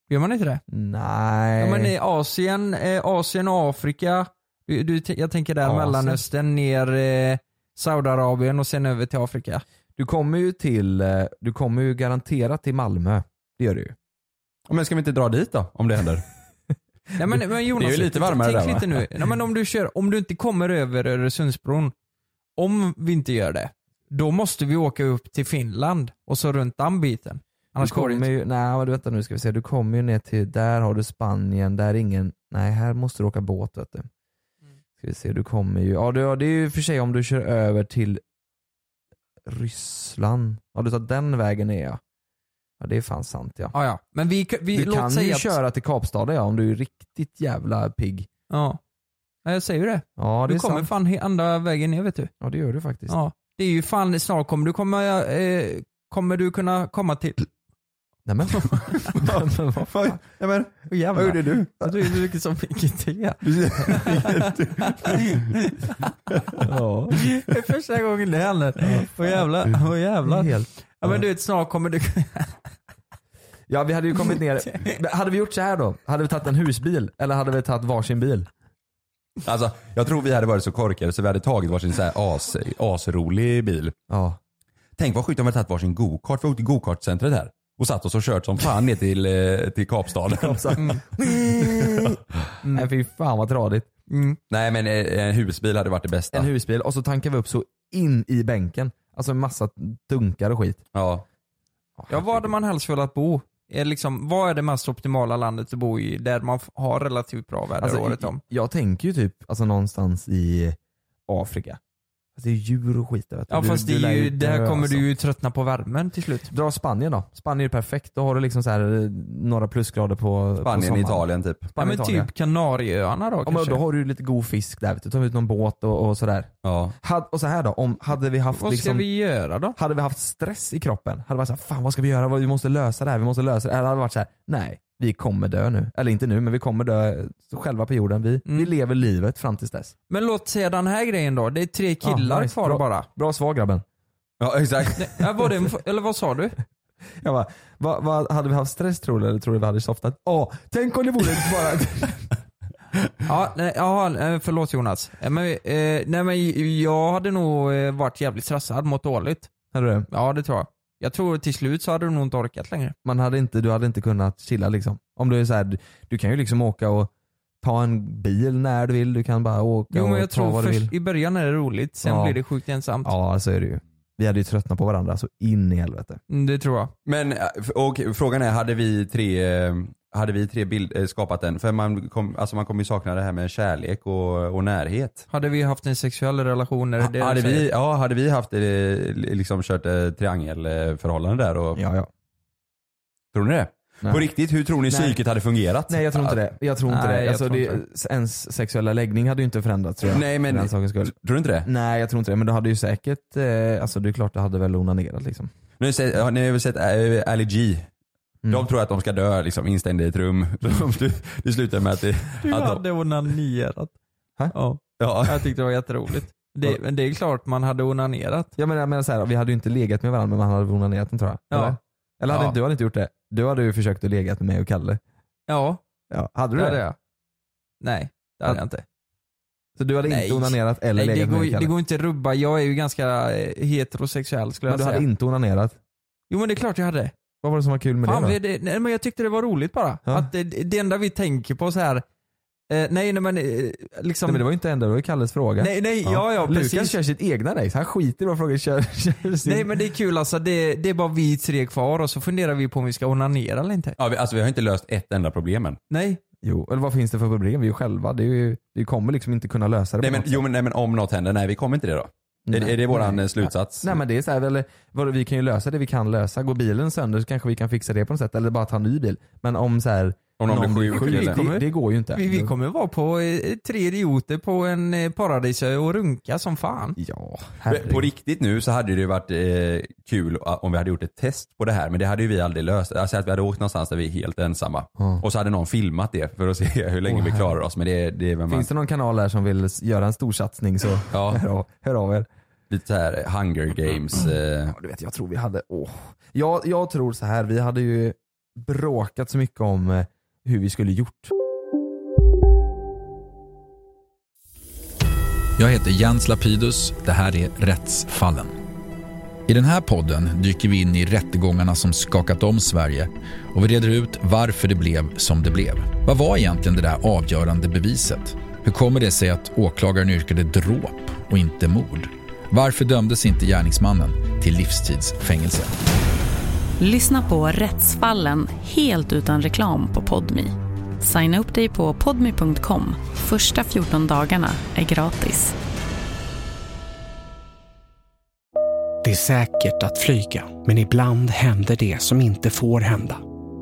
Speaker 7: Gör man inte det?
Speaker 5: Nej.
Speaker 7: Ja men i Asien, eh, Asien och Afrika. Du, du, t- jag tänker där
Speaker 5: Asien.
Speaker 7: Mellanöstern, ner eh, Saudiarabien och sen över till Afrika.
Speaker 5: Du kommer ju till, eh, du kommer ju garanterat till Malmö. Det gör du ju.
Speaker 6: Ja, Men ska vi inte dra dit då? Om det händer?
Speaker 7: Nej men, men Jonas,
Speaker 6: Det är ju lite
Speaker 7: tänk-
Speaker 6: varmare
Speaker 7: tänk
Speaker 6: där, va?
Speaker 7: lite nu. Nej, men om, du kör, om du inte kommer över Öresundsbron, om vi inte gör det, då måste vi åka upp till Finland och så runt den biten. Annars
Speaker 5: du
Speaker 7: går det
Speaker 5: kommer
Speaker 7: inte.
Speaker 5: ju, nej men vänta nu ska vi se, du kommer ju ner till, där har du Spanien, där är ingen, nej här måste du åka båt vet du.
Speaker 7: Mm.
Speaker 5: Ska vi se, du kommer ju, ja, du, ja det är ju för sig om du kör över till Ryssland. Ja du tar den vägen ner ja. Ja det är fan sant ja.
Speaker 7: Ja, ja. Men vi, vi
Speaker 5: du
Speaker 7: låt
Speaker 5: kan
Speaker 7: säga
Speaker 5: ju
Speaker 7: att,
Speaker 5: köra till Kapstaden ja om du är riktigt jävla pigg.
Speaker 7: Ja. ja, jag säger ju det.
Speaker 5: Ja det
Speaker 7: du
Speaker 5: är
Speaker 7: kommer
Speaker 5: sant.
Speaker 7: fan he- andra vägen ner vet du.
Speaker 5: Ja det gör du faktiskt.
Speaker 7: Ja. Det är ju fan, snart kommer du komma, eh, kommer du kunna komma till...
Speaker 5: Nej men. men vad fan.
Speaker 6: Nej, men,
Speaker 7: Åh, jävlar.
Speaker 6: du?
Speaker 7: Ja, Du är mycket som vilken tia.
Speaker 5: Ja.
Speaker 7: Det är första gången det händer. Åh jävlar. Åh jävlar.
Speaker 5: Helt.
Speaker 7: Ja men du vet snart kommer du...
Speaker 5: Ja vi hade ju kommit ner, Men hade vi gjort så här då? Hade vi tagit en husbil? Eller hade vi tagit varsin bil?
Speaker 6: Alltså, jag tror vi hade varit så korkade så vi hade tagit varsin så här as, asrolig bil.
Speaker 5: Ja.
Speaker 6: Tänk vad sjukt om vi hade tagit varsin gokart. Vi åkte till gokartcentret här och satt oss och kört som fan ner till, eh, till Kapstaden.
Speaker 7: Mm.
Speaker 5: Nej fy fan vad tradigt.
Speaker 6: Nej men eh, en husbil hade varit det bästa.
Speaker 5: En husbil och så tankar vi upp så in i bänken. Alltså en massa dunkar och skit.
Speaker 6: ja.
Speaker 7: Ja, var hade man helst velat bo? Är liksom, vad är det mest optimala landet att bo i där man f- har relativt bra väder
Speaker 5: Alltså,
Speaker 7: året om?
Speaker 5: Jag, jag tänker ju typ alltså, någonstans i Afrika. Alltså, det är djur och skit där vet du.
Speaker 7: Ja
Speaker 5: Du-
Speaker 7: fast
Speaker 5: du
Speaker 7: det
Speaker 5: lär
Speaker 7: är ju, där
Speaker 5: dö,
Speaker 7: kommer
Speaker 5: alltså.
Speaker 7: du ju tröttna på värmen till slut.
Speaker 5: Dra Spanien då. Spanien är perfekt. Då har du liksom så här, eh, några plusgrader på på
Speaker 6: Spanien,
Speaker 5: sommaren.
Speaker 6: Italien typ.
Speaker 7: Ja,
Speaker 5: Spanien,
Speaker 7: men
Speaker 5: Italien.
Speaker 7: typ Kanarieöarna då
Speaker 5: Ja, men
Speaker 7: kanske?
Speaker 5: då har du ju lite god fisk där vet du. Ta ut någon båt och, och sådär.
Speaker 6: Ja.
Speaker 5: Had, och så här då, om, hade vi haft
Speaker 7: Vad ska
Speaker 5: liksom,
Speaker 7: vi göra då?
Speaker 5: hade vi haft stress i kroppen, hade vi varit såhär, fan vad ska vi göra? Vad- Vi måste lösa det här, vi måste lösa det här. Eller hade vi varit såhär, nej, vi kommer dö nu. Eller inte nu, men vi kommer dö själva på jorden. Vi,
Speaker 7: Mm.
Speaker 5: vi lever livet fram tills dess.
Speaker 7: Men låt säga den här grejen då, det är tre killar
Speaker 5: nice.
Speaker 7: kvar
Speaker 5: Bra.
Speaker 7: bara.
Speaker 5: Bra svar grabben.
Speaker 6: Ja exakt.
Speaker 7: Ja, var det en, f- eller vad sa du?
Speaker 5: Jag bara, vad, vad, hade vi haft stress tror du eller tror du vi hade softat? Åh, tänk om det vore bara...
Speaker 7: Ja, nej, ja, eh, förlåt Jonas. Eh, Men, eh, nej men jag hade nog eh, varit jävligt stressad, mått dåligt.
Speaker 5: Hade du det?
Speaker 7: Ja det tror jag. Jag tror till slut så hade du nog inte orkat längre.
Speaker 5: Man hade inte, du hade inte kunnat chilla liksom. Om du är såhär, du, du kan ju liksom åka och ta en bil när du vill, du kan bara åka
Speaker 7: Jo
Speaker 5: och
Speaker 7: men jag
Speaker 5: ta
Speaker 7: tror
Speaker 5: vad du vill.
Speaker 7: först, i början är det roligt, sen
Speaker 5: Ja.
Speaker 7: blir det sjukt ensamt.
Speaker 5: Ja så är det ju. Vi hade ju tröttnat på varandra så in i helvete.
Speaker 7: Mm, det tror jag.
Speaker 6: Men eh, f- och frågan är, hade vi tre, eh, hade vi tre bild, eh, skapat den? För man, kom, alltså man kommer ju sakna det här med kärlek och, och närhet.
Speaker 7: Hade vi haft en sexuell relation? Är det det du
Speaker 6: hade,
Speaker 7: säger?
Speaker 6: vi, ja, hade vi haft eh, liksom kört eh, triangelförhållande där? Och,
Speaker 5: Ja, ja.
Speaker 6: Tror ni det?
Speaker 5: Nej.
Speaker 6: På riktigt, hur tror ni
Speaker 5: Nej.
Speaker 6: psyket hade fungerat?
Speaker 5: Nej jag tror inte
Speaker 6: Ja.
Speaker 5: det. Jag tror inte
Speaker 7: Nej,
Speaker 5: det.
Speaker 7: jag
Speaker 5: Alltså,
Speaker 7: tror
Speaker 5: det Ens sexuella läggning hade ju inte förändrats tror jag.
Speaker 6: Nej, men-
Speaker 5: för den sakens skull.
Speaker 6: Tror du inte det?
Speaker 5: Nej jag tror inte det. Men du hade ju säkert, eh, alltså det är klart du hade väl onanerat liksom.
Speaker 6: Nu har ni sett- har ni väl sett eh, Ali G?
Speaker 5: Mm.
Speaker 6: De tror att de ska dö liksom, instängda i ett rum. Det- Det slutar med att, det,
Speaker 7: Du
Speaker 6: att de,
Speaker 7: hade onanerat.
Speaker 5: Hä?
Speaker 7: Ja,
Speaker 6: ja,
Speaker 7: jag tyckte det var jätteroligt. Det, men det är klart man hade onanerat.
Speaker 5: Jag menar, jag menar så här, vi hade ju inte legat med varandra men man hade väl onanerat den tror jag.
Speaker 7: Ja.
Speaker 5: Eller, eller hade,
Speaker 7: Ja.
Speaker 5: inte- du hade inte gjort det? Du hade ju försökt att legat med mig och Kalle.
Speaker 7: Ja,
Speaker 5: Ja, hade du
Speaker 7: det
Speaker 5: det?
Speaker 7: hade jag. Nej, det hade jag inte.
Speaker 5: Så du hade
Speaker 7: Nej.
Speaker 5: inte onanerat eller
Speaker 7: Nej, det,
Speaker 5: legat med
Speaker 7: går,
Speaker 5: mig
Speaker 7: ju-
Speaker 5: och
Speaker 7: det
Speaker 5: Kalle?
Speaker 7: går inte att rubba, jag är ju ganska eh, heterosexuell skulle
Speaker 5: men
Speaker 7: jag
Speaker 5: du
Speaker 7: säga.
Speaker 5: hade inte onanerat?
Speaker 7: Jo men det är klart jag hade.
Speaker 5: Vad var det som var kul med
Speaker 7: Fan,
Speaker 5: det då?
Speaker 7: vi, det, nej, men jag tyckte det var roligt bara.
Speaker 5: Ja.
Speaker 7: Att det, det enda vi tänker på så här Eh, nej, nej men eh, liksom.
Speaker 5: Nej, men det var ju inte ändå, det var ju Kalles fråga.
Speaker 7: Nej, nej, ja, ja,
Speaker 5: Lukas
Speaker 7: precis.
Speaker 5: kör sitt egna race, han skiter i vad frågan kör, kör sin.
Speaker 7: Nej men det är kul alltså, det, det är bara vi tre kvar och så funderar vi på om vi ska onanera eller inte.
Speaker 6: Ja, vi, alltså vi har inte löst ett enda problem än.
Speaker 7: Nej.
Speaker 5: Jo, eller vad finns det för problem? Vi är ju själva, det är ju, vi kommer liksom inte kunna lösa det
Speaker 6: Nej
Speaker 5: på
Speaker 6: men,
Speaker 5: något
Speaker 6: jo, men, nej men om något händer, nej vi kommer inte det då. Är,
Speaker 5: Nej.
Speaker 6: är det våran
Speaker 5: Nej.
Speaker 6: eh, slutsats?
Speaker 5: Nej men det är så här, eller, vadå, vi kan ju lösa det vi kan lösa. Går bilen sönder så kanske vi kan fixa det på något sätt. Eller bara ta en ny bil. Men om så här,
Speaker 6: Om någon blir sjuk eller-
Speaker 5: det, det går ju inte.
Speaker 7: Vi, vi kommer vara på eh, tre idioter på en eh, paradisö och runka som fan.
Speaker 5: Ja,
Speaker 6: Men På
Speaker 5: herregud.
Speaker 6: riktigt nu så hade det ju varit eh, kul a- om vi hade gjort ett test på det här men det hade ju vi aldrig löst. Alltså att vi hade åkt någonstans där vi är helt ensamma
Speaker 5: Ja.
Speaker 6: och så hade någon filmat det för att se hur länge
Speaker 5: Åh,
Speaker 6: vi klarar oss. Men det, det är väl man,
Speaker 5: Finns det någon kanal här som vill s- göra en stor satsning så
Speaker 6: Ja.
Speaker 5: hör, av, hör av er.
Speaker 6: lite så här hunger games. Eh,
Speaker 5: Ja, du vet, jag tror vi hade, åh. Jag, jag tror så här, vi hade ju bråkat så mycket om eh, hur vi skulle gjort.
Speaker 8: Jag heter Jens Lapidus. Det här är Rättsfallen. I den här podden dyker vi in i rättegångarna som skakat om Sverige och vi reder ut varför det blev som det blev. Vad var egentligen det där avgörande beviset? Hur kommer det sig att åklagaren yrkade dråp och inte mord? Varför dömdes inte gärningsmannen till livstidsfängelse?
Speaker 9: Lyssna på Rättsfallen helt utan reklam på Podmi. Signa upp dig på podmi.com. Första 14 dagarna är gratis.
Speaker 10: Det är säkert att flyga, men ibland händer det som inte får hända.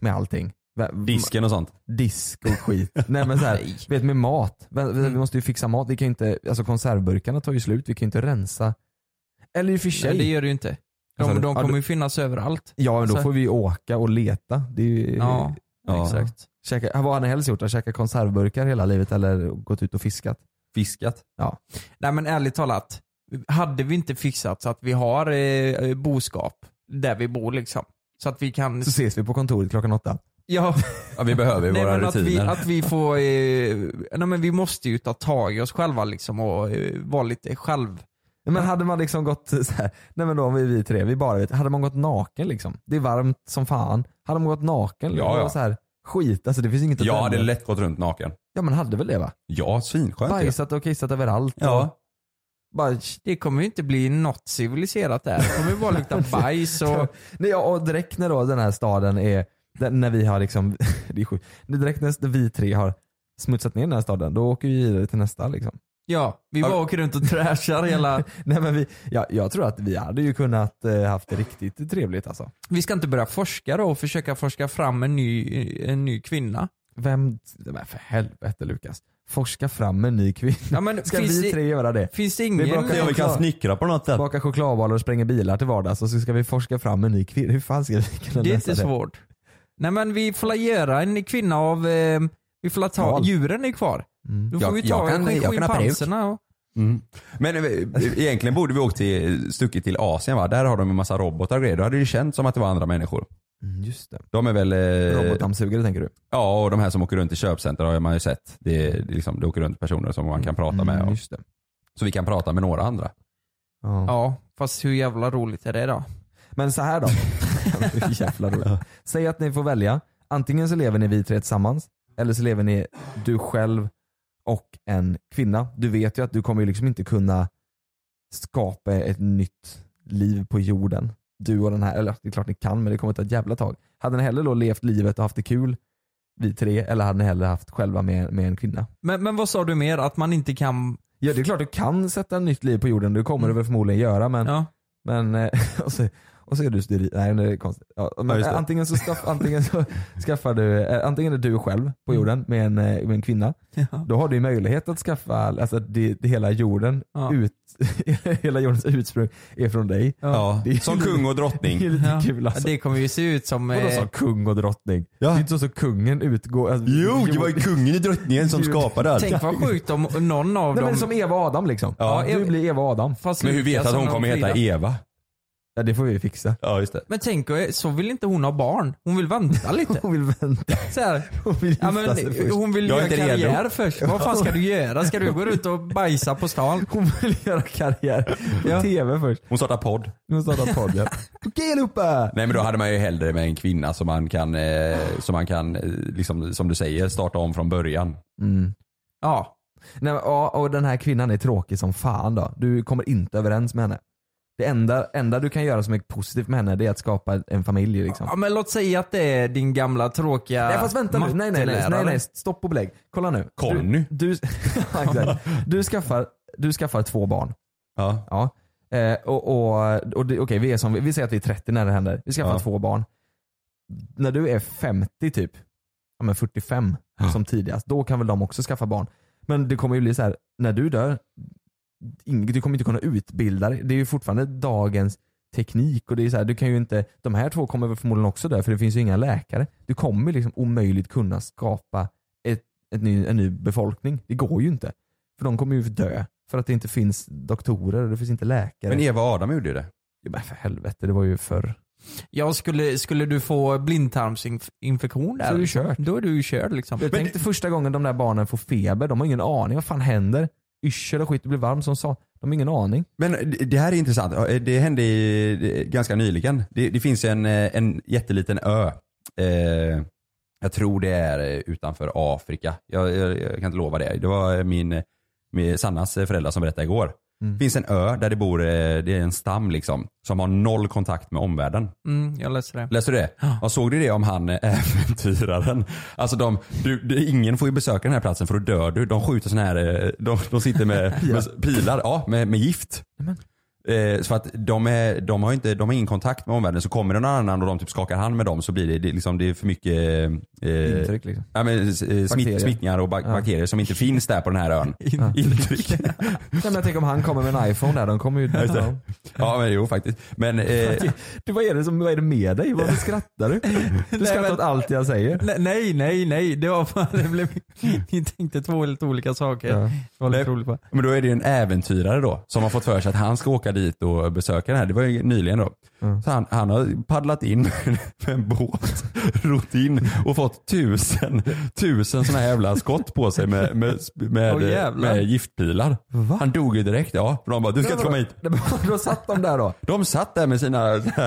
Speaker 5: Med allting. Va-
Speaker 6: disken och sånt.
Speaker 5: disk och skit. Nej men så här, vet med mat. Vi, vi vi måste ju fixa mat. Vi kan ju inte, alltså konservburkarna tar ju slut, vi kan ju inte rensa. Eller i och för sig.
Speaker 7: Nej, det gör det ju inte.
Speaker 5: Vad sa
Speaker 7: De,
Speaker 5: du?
Speaker 7: de
Speaker 5: Ja,
Speaker 7: kommer
Speaker 5: du-
Speaker 7: ju finnas överallt.
Speaker 5: Ja men då
Speaker 7: Så-
Speaker 5: får vi ju åka och leta. Det är ju,
Speaker 7: Ja,
Speaker 6: Ja.
Speaker 7: exakt.
Speaker 5: käka, vad hade han helst gjort? Att käka konservburkar hela livet eller gått ut och fiskat?
Speaker 6: Fiskat.
Speaker 7: Nej men ärligt talat, hade vi inte fixat så att vi har eh, boskap där vi bor liksom. Så att vi kan...
Speaker 5: Så ses vi på kontoret klockan åtta.
Speaker 7: Ja,
Speaker 6: Ja, vi behöver ju
Speaker 7: nej,
Speaker 6: våra
Speaker 7: men att vi,
Speaker 6: rutiner.
Speaker 7: att vi får... Eh, nej men vi måste ju ta tag i oss själva liksom och eh, vara lite själv...
Speaker 5: Men hade man liksom gått så här, nej men då om vi, vi tre, vi bara vet, hade man gått naken liksom? Det är varmt som fan. Hade man gått naken? liksom
Speaker 6: Ja, ja.
Speaker 5: och Så här, skit alltså det finns inget att
Speaker 6: Jag hade
Speaker 5: välja.
Speaker 6: lätt gått runt naken.
Speaker 5: Ja men hade väl det va?
Speaker 6: Ja, svinskönt det.
Speaker 5: Bajsat och kissat överallt.
Speaker 6: Ja.
Speaker 5: Och bara
Speaker 7: Det kommer ju inte bli något civiliserat där. Det kommer ju bara lukta bajs och...
Speaker 5: Nej, ja, och direkt när då den här staden är, där- när vi har liksom, det är sjukt. Direkt när vi tre har smutsat ner den här staden, då åker vi vidare till nästa liksom.
Speaker 7: Ja, vi bara åker runt och trashar hela...
Speaker 5: Nej men vi, ja, jag tror att vi hade ju kunnat eh, haft det riktigt trevligt alltså.
Speaker 7: Vi ska inte börja forska då och försöka forska fram en ny, en ny kvinna.
Speaker 5: Vem, men för helvete Lukas. Forska fram en ny kvinna.
Speaker 7: Ja, men
Speaker 5: Ska
Speaker 7: finns
Speaker 5: vi
Speaker 7: det-
Speaker 5: tre göra det?
Speaker 7: Finns det ingen...
Speaker 5: Det är bra-
Speaker 6: Ja, vi kan snickra på något sätt.
Speaker 5: Baka chokladbollar och spränga bilar till vardags och så ska vi forska fram en ny kvinna. Hur fan ska vi kunna
Speaker 7: Det är
Speaker 5: lösa
Speaker 7: inte svårt. Nej men vi får la göra en kvinna av, eh, vi får la ta,
Speaker 5: Val.
Speaker 7: djuren är kvar.
Speaker 5: Mm.
Speaker 7: Då får
Speaker 6: Jag-
Speaker 7: vi
Speaker 6: jag
Speaker 7: ta
Speaker 6: kan- jag kan ha peruk.
Speaker 7: schimpanserna och...
Speaker 6: Men eh, egentligen borde vi åkt till, stuckit till Asien va? Där har de en massa robotar och grejer. Då hade det ju känts som att det var andra människor.
Speaker 5: Mm, just det.
Speaker 6: De är väl... eh,
Speaker 5: Robotdammsugare tänker du?
Speaker 6: Ja, och de här som åker runt i köpcenter har man ju sett. Det, är liksom, det åker runt personer som man kan prata med.
Speaker 5: Mm,
Speaker 6: Och,
Speaker 5: just det.
Speaker 6: så vi kan prata med några andra.
Speaker 5: Ja.
Speaker 7: Ja, fast hur jävla roligt är det då?
Speaker 5: Men så här då. Jävla roligt. Säg att ni får välja. Antingen så lever ni vi tre tillsammans, eller så lever ni du själv och en kvinna. Du vet ju att du kommer ju liksom inte kunna skapa ett nytt liv på jorden. Du och den här, eller det är klart ni kan men det kommer ta ett jävla tag. Hade ni hellre då levt livet och haft det kul vi tre, eller hade ni hellre haft själva med, med en kvinna?
Speaker 7: Men, men vad sa du mer? Att man inte kan...
Speaker 5: Ja det är klart du kan sätta nytt liv på jorden, det kommer du väl förmodligen göra men, men eh, och, så, och så är du steril. Nej det är konstigt. Ja, men,
Speaker 7: just det.
Speaker 5: eh, antingen, så skaff, antingen så skaffar du, eh, antingen är du själv på jorden med en, eh, med en kvinna. Då har du ju möjlighet att skaffa, alltså att det, det hela jorden,
Speaker 7: Ja.
Speaker 5: ut, hela jordens ursprung är från dig.
Speaker 6: Ja,
Speaker 5: Det är
Speaker 6: som
Speaker 5: ju-
Speaker 6: kung och drottning.
Speaker 5: Det är lite
Speaker 6: Ja.
Speaker 5: kul alltså.
Speaker 7: Det kommer ju se ut som...
Speaker 5: Vadå
Speaker 7: eh,
Speaker 5: som kung och drottning? Det är inte så som kungen utgår. Alltså,
Speaker 6: Jo, det var ju kungen och drottningen som skapade allt.
Speaker 7: Tänk vad sjukt om någon av
Speaker 5: Nej,
Speaker 7: dem...
Speaker 5: men som Eva och Adam liksom.
Speaker 6: Ja.
Speaker 5: Du blir Eva och Adam.
Speaker 7: Fast
Speaker 6: Men hur
Speaker 7: lika
Speaker 6: vet att
Speaker 7: som
Speaker 6: hon
Speaker 7: de
Speaker 6: kommer heta
Speaker 7: fyra.
Speaker 6: Eva?
Speaker 5: Ja, det får vi fixa.
Speaker 6: Ja, just det.
Speaker 7: Men tänk, eh, så vill inte hon ha barn. Hon vill vänta lite.
Speaker 5: Hon vill vänta.
Speaker 7: Så här.
Speaker 5: Hon vill
Speaker 7: Ja,
Speaker 5: gifta
Speaker 7: men,
Speaker 5: sig först.
Speaker 7: hon vill
Speaker 6: Jag är
Speaker 7: göra
Speaker 6: inte redo.
Speaker 7: karriär först. Vad fan ska du göra? Ska du gå ut och bajsa på stan?
Speaker 5: Hon vill göra karriär på
Speaker 7: Ja.
Speaker 5: tv först.
Speaker 6: Hon startar podd.
Speaker 5: Hon startar podd ja. Okej allihopa!
Speaker 6: Nej men då hade man ju hellre med en kvinna som man kan, eh, som man kan, eh, liksom, som du säger, starta om från början.
Speaker 5: Mm.
Speaker 7: Ja.
Speaker 5: Nej, men, ja, och den här kvinnan är tråkig som fan då. Du kommer inte överens med henne. Det enda, enda du kan göra som är positivt med henne det är att skapa en familj liksom.
Speaker 7: ja. Men låt säga att det är din gamla tråkiga
Speaker 5: Nej fast vänta nu, nej nej nej, nej, nej. stopp och belägg. Kolla nu.
Speaker 6: Conny.
Speaker 5: Du, du, Ja, exakt. du, skaffar, du skaffar två barn.
Speaker 6: Ja.
Speaker 5: Ja. Eh, och, och, och det, okej, vi, är som, vi säger att vi är 30 när det händer. Vi skaffar
Speaker 6: Ja.
Speaker 5: två barn. När du är 50 typ, ja men 45 som tidigast, då kan väl de också skaffa barn. Men det kommer ju bli så här, när du dör, ing- du kommer inte kunna utbilda dig. Det är ju fortfarande dagens teknik och det är så här, du kan ju inte, de här två kommer väl förmodligen också dö för det finns ju inga läkare. Du kommer liksom omöjligt kunna skapa ett, ett ny, en ny befolkning. Det går ju inte. För de kommer ju dö. För att det inte finns doktorer och det finns inte läkare.
Speaker 6: Men Eva och Adam gjorde ju det.
Speaker 5: Ja, men för helvete, det var ju förr.
Speaker 7: Jag skulle, skulle du få blindtarmsinfektion där?
Speaker 5: Så är du
Speaker 7: liksom,
Speaker 5: kört.
Speaker 7: Då är du ju körd liksom.
Speaker 5: Jag tänkte första gången de där barnen får feber, de har ingen aning vad fan händer. Yrsel och skit, det blir varmt som sa. De har ingen aning.
Speaker 6: Men det- det här är intressant. eh, Det hände i- ganska nyligen. Det, det finns en, eh, en jätteliten ö. Eh, jag tror det är eh, utanför Afrika. Jag, jag, jag kan inte lova det. Det var eh, min, min Sannas eh, föräldrar som berättade igår.
Speaker 5: Mm.
Speaker 6: Det finns en ö där det bor eh, det är en stam liksom, som har noll kontakt med omvärlden.
Speaker 7: Mm, jag läser det.
Speaker 6: Läste du det? Ja. Såg du det om han eh, äventyraren? Alltså de, du, du, ingen får ju besöka den här platsen för då dör du. De skjuter sådana här, eh, de, de sitter med, med pilar, ja med, med gift. Eh, så att de, är, de, har ju inte, de har ingen kontakt med omvärlden. Så kommer det någon annan och de typ skakar hand med dem så blir det, det, liksom, det är för mycket eh,
Speaker 5: Intryck liksom.
Speaker 6: ja, men, eh,
Speaker 5: Bakterier.
Speaker 6: smitt, smittningar och bak-
Speaker 5: Ja.
Speaker 6: bakterier som inte finns där på den här ön.
Speaker 5: Ja.
Speaker 6: Intryck.
Speaker 5: Nej, men jag tänker om han kommer med en iPhone där, de kommer ju
Speaker 6: Just
Speaker 5: dö.
Speaker 6: det. ja men jo faktiskt. Men, eh,
Speaker 5: Du, vad, är det som, vad är det med dig? Varför skrattar du? Du skrattar
Speaker 7: men-
Speaker 5: åt allt jag säger.
Speaker 7: Nej, Nej, nej, nej. Det var fan, det blev, ni tänkte två helt olika saker.
Speaker 5: Ja.
Speaker 7: Det var lite roligt bara.
Speaker 6: Men då är det en äventyrare då som har fått för sig att han ska åka dit och besöka den här. Det var ju nyligen då.
Speaker 5: Mm.
Speaker 6: Så han, han har paddlat in med en båt, rott in och fått tusen, tusen sådana här jävla skott på sig med, med, med,
Speaker 7: Åh, jävlar.
Speaker 6: med giftpilar. Han dog ju direkt ja. För de bara, du ska inte komma hit.
Speaker 5: Nej, men Då satt de där då.
Speaker 6: De satt där med sina såna